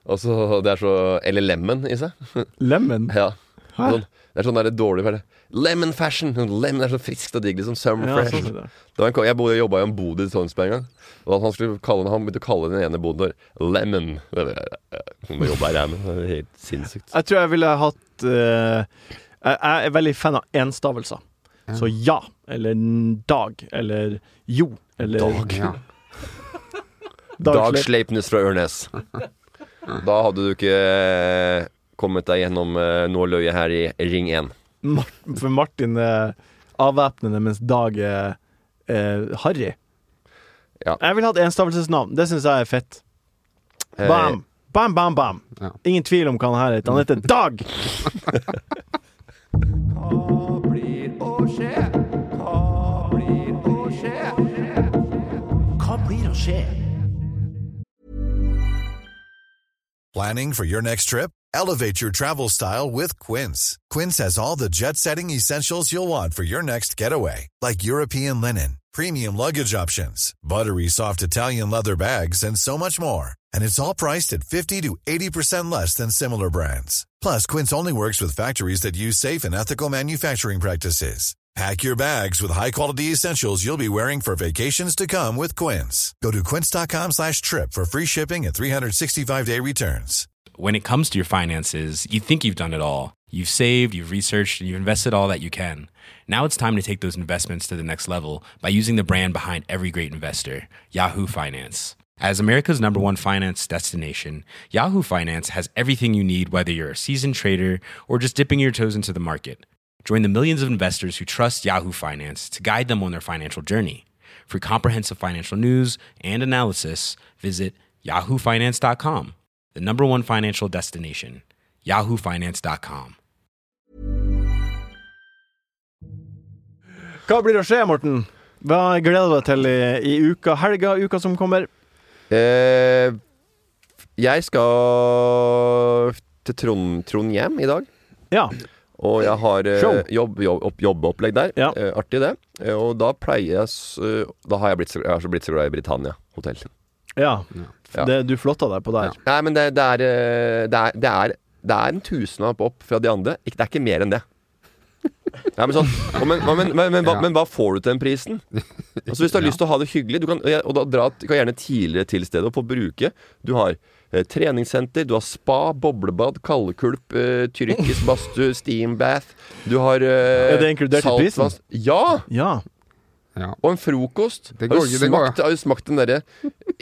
C: og så det er så, Eller Lemon i seg.
B: Lemon.
C: Ja.
B: Hæ?
C: Sånn, det er sånn der dårlig hva er det? Lemon fashion! Sånn Lemon er så friskt og digg. Liksom summer
B: Ja,
C: fresh.
B: sånn er det.
C: det var en, ko- jeg bodde- jobba i en bod i Tønsberg en gang. Og han, skulle kalle, han begynte å kalle den ene boden for Lemon. Det er- Hun må jobbe her, jeg, men det er helt sinnssykt.
B: Jeg tror jeg ville hatt eh, Jeg jeg er veldig fan av enstavelser. Så ja, eller n- dag, eller jo, eller
C: Dag.
E: (laughs) ja.
C: Dag
B: Sleip.
C: Sleipnes fra Ørnes. Da hadde du ikke kommet deg gjennom eh, Nå løy jeg her i Ring 1.
B: Mar- For Martin er avvæpnende, mens Dag er eh, harry.
C: Ja.
B: Jeg ville hatt enstavelsesnavn. Det syns jeg er fett.
C: Eh,
B: Bam! Bam, bam, bam.
E: Ja.
B: Ingen tvil om hva han her heter. Han heter Dag!
D: Hva blir å skje?
G: Planning for your next trip? Elevate your travel style with Quince. Quince has all the jet setting essentials you'll want for your next getaway, like European linen, premium luggage options, buttery soft Italian leather bags, and so much more. And it's all priced at 50 to 80% less than similar brands. Plus, Quince only works with factories that use safe and ethical manufacturing practices. Pack your bags with high-quality essentials you'll be wearing for vacations to come with Quince. Go to quince.com slash trip for free shipping and 365-day returns.
H: When it comes to your finances, you think you've done it all. You've saved, you've researched, and you've invested all that you can. Now it's time to take those investments to the next level by using the brand behind every great investor, Yahoo Finance. As America's number one finance destination, Yahoo Finance has everything you need, whether you're a seasoned trader or just dipping your toes into the market. Join the millions of investors who trust Yahoo Finance to guide them on their financial journey. For comprehensive financial news and analysis, visit yahoofinance.com, the number one financial destination, yahoofinance.com.
B: Hva blir å skje, Morten? Hva gleder du deg til i, i uka, helga, uka som kommer?
C: Eh, jeg skal til Trond, Trondhjem i dag.
B: Ja.
C: Og jeg har eh,
B: Show.
C: jobb, jobb, opp, jobbopplegg der.
B: Ja.
C: Eh, artig, det. Eh, og da pleier jeg s- eh, Da har jeg blitt så, jeg er så blitt så glad i Britannia hotell.
B: ja.
C: Ja.
B: Det, du flotta deg på der.
C: Nei, men det, det, er, eh, det, er, det, er, det er en tusenlapp opp fra de andre. Ikke, det er ikke mer enn det. (laughs) Nei, men sånn og men, men, men, men, hva,
E: Ja.
C: men hva får du til den prisen? Altså
E: (laughs)
C: Hvis du har lyst til å ha det hyggelig, du kan, og da dra du kan gjerne tidligere til stedet og få bruke Du har eh, treningssenter, du har spa, boblebad, kaldekulp, eh,
E: (laughs)
C: tyrkisk badstue, steambath Du har eh,
B: Er det inkludert i prisen?
C: saltvann- Ja!
B: Ja.
C: (laughs)
E: ja.
C: Og en frokost.
E: Det
C: har,
E: går
C: du
E: ikke, det går.
C: smakt, har du smakt den derre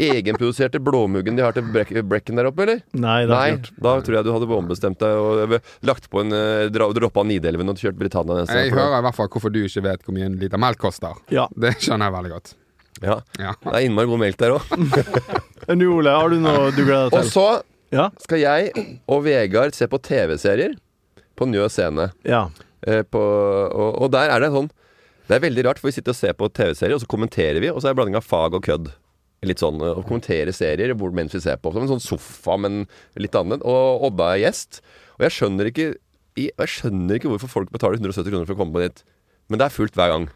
C: egenproduserte blåmuggen de har til brek brekken der oppe, eller?
B: Nei, det har jeg ikke gjort.
C: da tror jeg du hadde ombestemt deg og eh, lagt på en eh, dra- droppa Nidelven og kjørt Britannia neste
E: Jeg hører i hvert fall hvorfor du ikke vet hvor mye en liter melk koster.
B: Ja.
E: (laughs) Det skjønner jeg veldig godt.
C: Ja.
E: Ja.
C: Det er innmari god melk der òg.
B: Nå, Ole, har du noe du gleder
C: Og
B: deg til?
C: så
B: Ja.
C: skal jeg og Vegard se på TV-serier på Njø Scene.
B: ja.
C: Eh, på, og, og der er det sånn Det er veldig rart, for vi sitter og ser på TV-serier, og så kommenterer vi, og så er det blanding av fag og kødd. Litt sånn, eh, Å kommentere serier hvor, mens vi ser på. Som en sånn sofa, men litt annet. Og Odda er gjest. Og jeg skjønner ikke i- Jeg skjønner ikke hvorfor folk betaler 170 kroner for å komme på dit. Men det er fullt hver gang.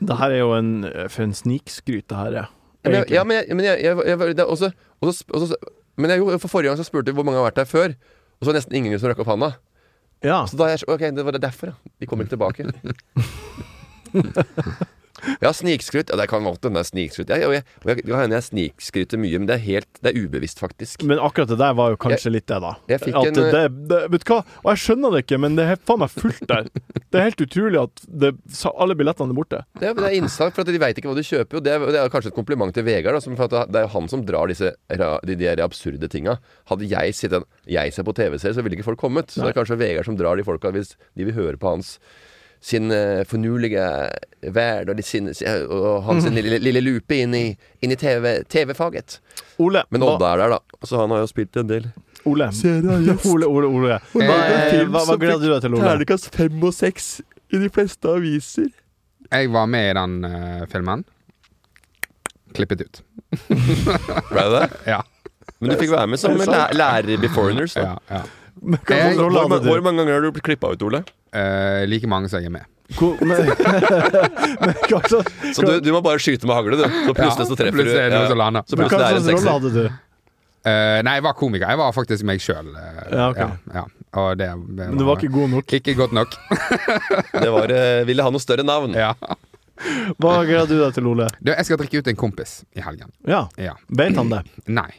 B: Det her er jo en For en snikskryt, det her er.
C: Men jeg,
B: egentlig.
C: ja, men jeg, men jeg, jeg, jeg det er også, og så- og så- Men jeg, jo, for forrige gang så spurte jeg hvor mange har vært der før. Og så var det nesten ingen som rakk opp handa.
B: ja.
C: Så da er jeg så, Ok, det var det derfor, ja. De kommer ikke tilbake. ja, snikskryt. Ja, det kan godt hende det er snikskryt. Jeg, og jeg, og jeg, det kan hende jeg snikskryter mye, men det er helt Det er ubevisst, faktisk.
B: Men akkurat det der var jo kanskje litt det, da.
C: jeg fikk
B: at
C: en, eh,
B: det, det, vet du hva? Og jeg skjønner det ikke, men det er helt- faen meg fullt der. Det er helt utrolig at det, sa- alle billettene er borte.
C: Det er, det er innsalg, for at de veit ikke hva de kjøper. Og det er, det er kanskje et kompliment til Vegard, da, som- for at det er jo han som drar disse ra, de, der absurde tinga. Hadde jeg sittet jeg ser på TV-serier, så ville ikke folk kommet. Så det er kanskje Vegard som drar de folka hvis de vil høre på hans sin eh, fornulige verd og, de sin, og hans lille, lille lupe inn i, inn i TV TV-faget.
B: Ole,
C: Men
B: hva-
C: Odda er der, da. Så Altså, han har jo spilt en del.
B: Ole. Ole, Ole, Ole. Hva,
E: er det en
B: hva, hva gleder du deg til, Ole?
C: Ternekast fem og seks i de fleste aviser.
E: Jeg var med i den eh, filmen. Klippet ut.
C: Ble det det? (laughs)
E: Ja.
C: Men du fikk være med som læ lærer i Foreigners. Da.
E: ja, ja.
B: Men hva
E: Jeg-
B: slags rolle
C: Eh, Hvor,
B: hadde
C: ma-
B: du?
C: hvor mange ganger har du blitt klippa ut, Ole?
E: Eh, like mange som jeg er med.
B: Hvor- Men (laughs) men hva slags
C: Så du, du må bare skyte med hagle, du. Så plutselig så treffer du.
E: plutselig er det noen som lander.
C: Så
B: men hva
C: plutselig er det
B: slags
C: en
B: rolle hadde
C: sekser.
B: du?
E: Eh, nei, jeg var komiker. Jeg var faktisk meg sjøl.
B: Ja, ok.
E: ja, ja. Og det, det
B: Men du var ikke god nok.
E: ikke godt
B: (laughs)
E: nok.
C: Det var, eh, ville ha noe større navn.
E: ja.
B: Hva gleder du deg til, Ole?
E: Du, jeg skal drikke ut en kompis i helgen.
B: Ja,
E: Ja.
B: Vet han det?
E: Nei.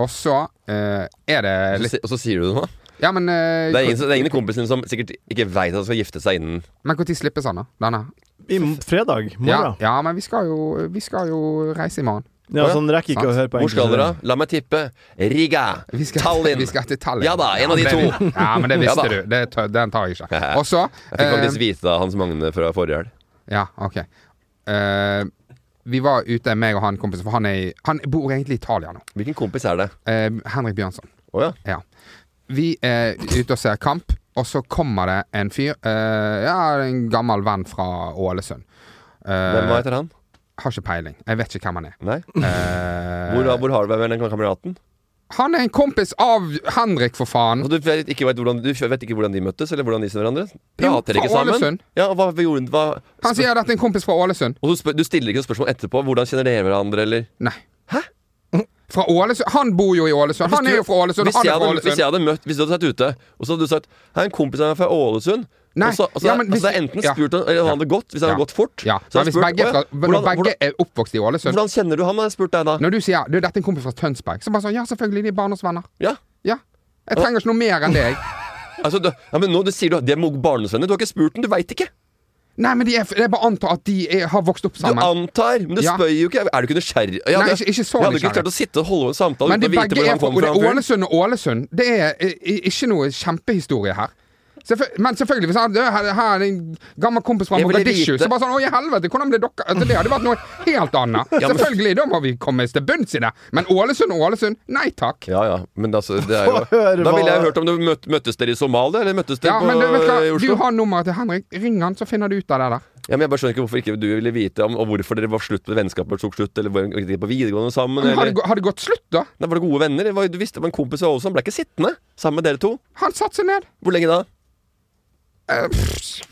E: Og så eh, er det
C: Og så
E: litt
C: si- Og så sier du det nå?
E: Ja, men
C: Det er ingen,
E: uh,
C: det er ingen i kompisen din som sikkert ikke veit at han skal gifte seg innen
E: Men når slippes han, da? Denne?
B: I m- fredag
E: Ja,
B: morgen?
E: ja, men vi skal, jo, vi skal jo reise i morgen.
B: Ja, så han rekker ikke å høre på
C: Hvor skal
B: enkelte-
C: dere? La meg tippe. Riga.
E: Vi skal,
C: Tallinn.
E: (laughs) Vi skal til Tallinn.
C: Ja da, en av de
E: men-
C: to.
E: Ja, men det
C: Ja
E: visste
C: da.
E: du. Det, tør- den tar jeg ikke. Og så
C: Jeg fikk
E: eh,
C: faktisk vite av Hans Magne fra forrige helg.
E: Ja, ok. Eh, vi var ute, meg og han kompisen, for han, er, i- han bor egentlig i Italia nå.
C: Hvilken kompis er det?
E: Eh, Henrik Bjørnson.
C: Å ja.
E: Ja. Vi er ute og ser kamp, og så kommer det en fyr. eh, ja, en gammel venn fra Ålesund. Eh,
C: Hvem hva heter han?
E: har ikke peiling. Jeg vet ikke hvem han er.
C: Nei?
E: Eh,
C: Hvor, hvor har du hvem er den kameraten?
E: han er en kompis av Henrik, for faen!
C: Altså, du, vet ikke vet hvordan, du vet ikke hvordan de møttes, eller hvordan de ser hverandre?
E: Jo,
C: Prater ikke
E: fra
C: sammen?
E: Ålesund.
C: Ja, og hva, hva gjorde hva,
E: Han sier at det er en kompis fra Ålesund.
C: Og du, spør, du stiller ikke noe spørsmål etterpå? Hvordan kjenner dere hverandre, eller?
E: Nei. Fra Ålesund? Han bor jo i Ålesund. Han er jo fra Ålesund.
C: Hvis
E: Han
C: jeg,
E: er fra
C: hadde, hvis jeg
E: Ålesund.
C: hadde møtt Hvis du hadde sett ute, og så hadde du sagt Hei, en kompis av meg fra Ålesund.
E: Nei,
C: Og så, og så,
E: ja, men
C: altså,
E: hvis-
C: det er enten
E: ja.
C: spurt han, Eller han hadde gått, hvis han
E: Ja.
C: hadde gått fort.
E: Ja,
C: så hadde jeg
E: men hvis
C: spurt,
E: begge,
C: «Å, ja,
E: er fra, når
C: hvordan,
E: begge
C: hvordan,
E: er oppvokst i Ålesund
C: hvordan kjenner du ham? hadde jeg spurt deg da.
E: Når du sier du, 'dette er en kompis fra Tønsberg', så bare sånn 'ja, selvfølgelig, de er barndomsvenner'.
C: Ja
E: Ja. Jeg trenger ikke noe mer enn deg.
C: Altså, du, ja, men nå du sier du at de er mo- barndomsvenner. Du har ikke spurt dem, du veit ikke.
E: Nei, men de er, det er bare å anta at de er, har vokst opp
C: Du
E: sammen.
C: antar, men du
E: Ja.
C: spør jo ikke. Er du ikke nysgjerrig? Ja,
E: Nei,
C: det-
E: ikke- ikke så
C: Jeg hadde ikke
E: nysgjerrig.
C: klart å sitte og holde en samtale
E: Men de
C: uten å vite
E: begge
C: hvor
E: er
C: han
E: fra
C: kommer
E: det
C: fra.
E: er Ålesund og Ålesund. Det er eh, ikke noe kjempehistorie her. Selvfø- men selvfølgelig, hvis han «Du, her, her er en gammel kompis fra
C: Jeg ville
E: Mogadishu
C: vite-
E: Så bare sånn 'Å, i helvete, hvordan ble dere altså, Det hadde vært noe helt annet.
C: men-
E: Selvfølgelig, da må vi komme til bunns i det. Men Ålesund og Ålesund, nei takk.
C: Ja, ja, men altså, det er
E: (laughs)
C: jo
B: Få høre
C: Da ville jeg
B: hva-
C: hørt om du møt, møttes dere i Somalia, eller møttes dere
E: Ja,
C: på, eh,
E: men du, vet
C: i
E: du, hva? du
C: Oslo?
E: har nummeret til Henrik. Ring han, så finner du ut av det der.
C: Ja, men Jeg bare skjønner ikke hvorfor ikke du ville vite om og hvorfor dere var slutt med vennskapet tok slutt, eller hvor gikk dere på videregående sammen,
E: Men har, det,
C: eller
E: gå- har det gått slutt, da?
C: Nei, Var det gode venner? Det var- Du visste det var en kompis av Ålesund, ble ikke sittende sammen med dere to.
E: Han satte seg ned.
C: Hvor lenge da?
E: Eh, pff,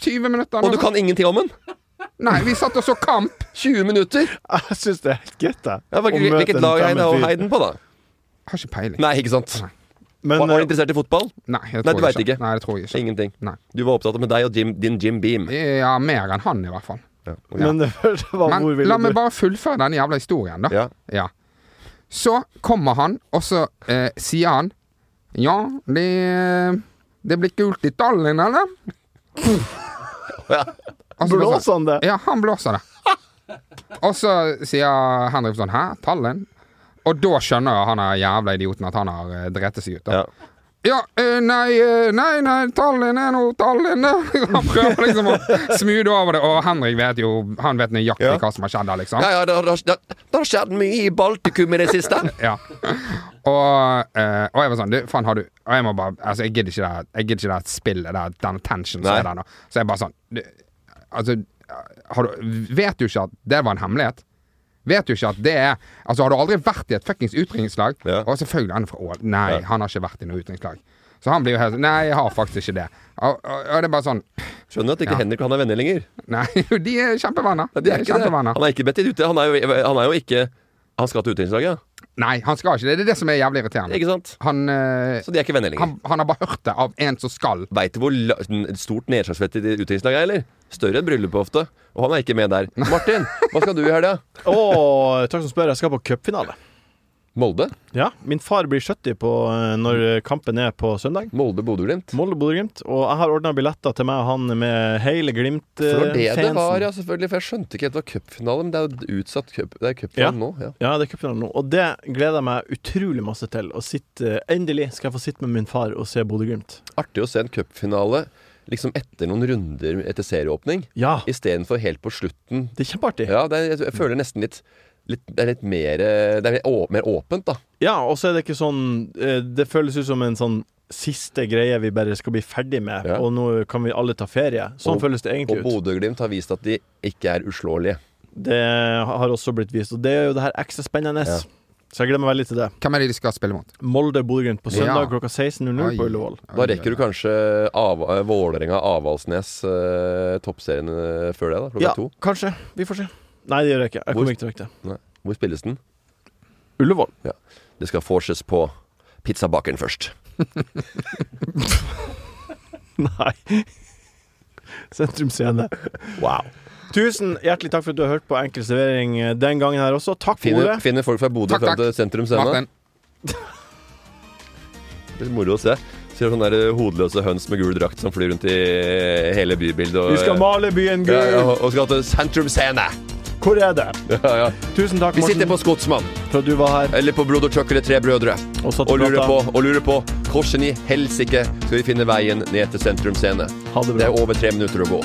E: 20 minutter.
C: Og
E: noe
C: du kan ingenting om den?
E: sånt. Nei, vi satt og så kamp.
C: 20 minutter?
B: (laughs) Jeg syns det er helt greit, jeg.
C: Ja,
B: Å
C: hvilket,
B: møte
C: hvilket
B: en
C: lag er
B: fremmed fyr.
C: Heiden på, da?
E: Har ikke peiling.
C: Nei, ikke sant?
B: Men,
C: Var, var du
B: eh,
C: interessert i fotball?
E: Nei, jeg
C: Nei,
E: tror
C: du vet ikke.
E: Nei, det tror jeg ikke.
C: Ingenting.
E: Nei.
C: Du var opptatt med deg og Jim, din Jim Beam.
E: Ja, mer enn han, i hvert fall.
B: eh, men (laughs) det første var
E: Men
B: hvor ville
E: la meg
B: du
E: bare fullføre denne jævla historien, da.
C: Ja.
E: Ja. Så kommer han, og så eh, sier han Ja, det, det blir kult i Tallinn, eller?
C: Ja.
E: Og så bare sånn-
B: Blåser han det?
E: Ja, han blåser det. Og så sier Henrik sånn Hæ, Tallinn? Og da skjønner jeg han er jævla idioten at han har eh, drept seg ut. Da.
C: Ja.
E: Ja, eh, nei, eh, nei, nei, Tallinn er nå Tallinn er». (laughs) Han prøver liksom å smude over det, og Henrik vet jo Han vet nøyaktig
C: Ja.
E: hva som har skjedd der, liksom.
C: Ja, ja, det, har- det, har- det har skjedd mye i Baltikum i det siste.
E: (laughs) Ja. Og, eh, og jeg var sånn du, faen, har du Og jeg må bare Altså, jeg gidder ikke det her- Jeg gidder ikke det her spillet, det her- den tension som
C: Nei.
E: er der nå. Så jeg bare sånn du, Altså, har du Vet du ikke at det var en hemmelighet? Vet du ikke at det er Altså, har du aldri vært i et fuckings utringningslag?
C: Ja.
E: Og selvfølgelig han er fra Ål. Nei,
C: Ja.
E: han har ikke vært i noe utringningslag. Så han blir jo helt sånn Nei, jeg har faktisk ikke det. Og, og, og det er bare sånn
C: Skjønner at ikke
E: Ja.
C: Henrik og han er venner lenger.
E: Nei, (laughs) jo, de er kjempevenner.
C: Nei, de er ikke det. Han
E: kjempevenner.
C: er ikke bedt ute. Han er jo, han er jo ikke Han skal til utenrikslaget,
E: Nei, han skal ikke det. Det er det som er jævlig
C: ja.
E: irriterende.
C: ikke sant?
E: Han eh,
C: Så de er ikke venner lenger.
E: han, han har bare hørt det av en som skal.
C: Veit du hvor la- n- stort nedslagsfett i det utenrikslaget er, eller? Større enn bryllupet ofte. Og han er ikke med der. Martin, hva skal du i helga?
B: Å, takk som spør. Jeg skal på cupfinale.
C: Molde?
B: Ja. Min far blir 70 på, eh, når kampen er på søndag.
C: Molde-Bodø-Glimt?
B: Molde Bodø-Glimt. Og jeg har ordna billetter til meg og han med hele Eh,
C: Det var det det var,
B: Glimt-fansen.
C: ja, selvfølgelig. For jeg skjønte ikke at det var cupfinale, men det er jo utsatt cup. Det
B: Ja.
C: er cupfinale nå. Ja.
B: Ja, det er cupfinalen nå. Og det gleder jeg meg utrolig masse til. Å sitte, eh, endelig skal jeg få sitte med min far og se Bodø-Glimt.
C: Artig å se en cupfinale liksom etter noen runder etter serieåpning,
B: Ja,
C: istedenfor helt på slutten.
B: det er kjempeartig.
C: Ja, det er, jeg føler nesten litt, litt Det er litt mer eh, Det er litt å, mer åpent, da.
B: Ja, og så er det ikke sånn eh, Det føles ut som en sånn siste greie vi bare skal bli ferdig med,
C: Ja.
B: og nå kan vi alle ta ferie. Sånn
C: Og-
B: føles det egentlig
C: Og
B: ut.
C: Bodø-Glimt har vist at de ikke er uslåelige.
B: Det har også blitt vist, og det er jo det her ekstra spennende.
C: Ja.
B: Så jeg gleder meg veldig til det.
E: Hvem er det de skal spille mot?
B: Molde-Bodø-Glimt på søndag
E: Ja.
B: klokka 16.00
E: Oi.
B: på Ullevål.
C: Da rekker du kanskje av, eh, Vålerenga Avaldsnes eh, toppserien eh, før det, da. Klokka
B: Ja,
C: to.
B: kanskje. Vi får se. Nei, det gjør jeg ikke. Jeg
C: Hvor-
B: kommer ikke til å rekke det.
C: Nei. Hvor spilles den?
B: Ullevål. (laughs)
C: Det skal forses på pizzabakeren først.
B: Nei. Sentrum Scene. Wow. Tusen hjertelig takk for at du har hørt på Enkel servering eh, den gangen her også. Takk for
C: Finner,
B: ordet.
C: finner folk fra Bodø
E: Takk,
C: fram
E: takk.
C: til sentrum scene.
E: Martin.
C: Det er moro å se. Ser sånne der hodeløse høns med gul drakt som flyr rundt i hele bybildet. Og,
B: Vi skal male byen
C: ja, ja,
B: gul.
C: og- og skal til sentrum scene!
B: Hvor er det?
C: Ja, ja.
B: Tusen takk,
C: Vi sitter
B: Morten,
C: på Skotsmann,
B: for at du var her
C: eller på Broder Chuckle Tre Brødre,
B: og satt
C: og
B: og
C: lurer
B: prata.
C: på, og lurer på hvordan i helsike skal vi finne veien ned til sentrum scene.
B: Ha det
C: Det
B: bra.
C: er over tre minutter å gå.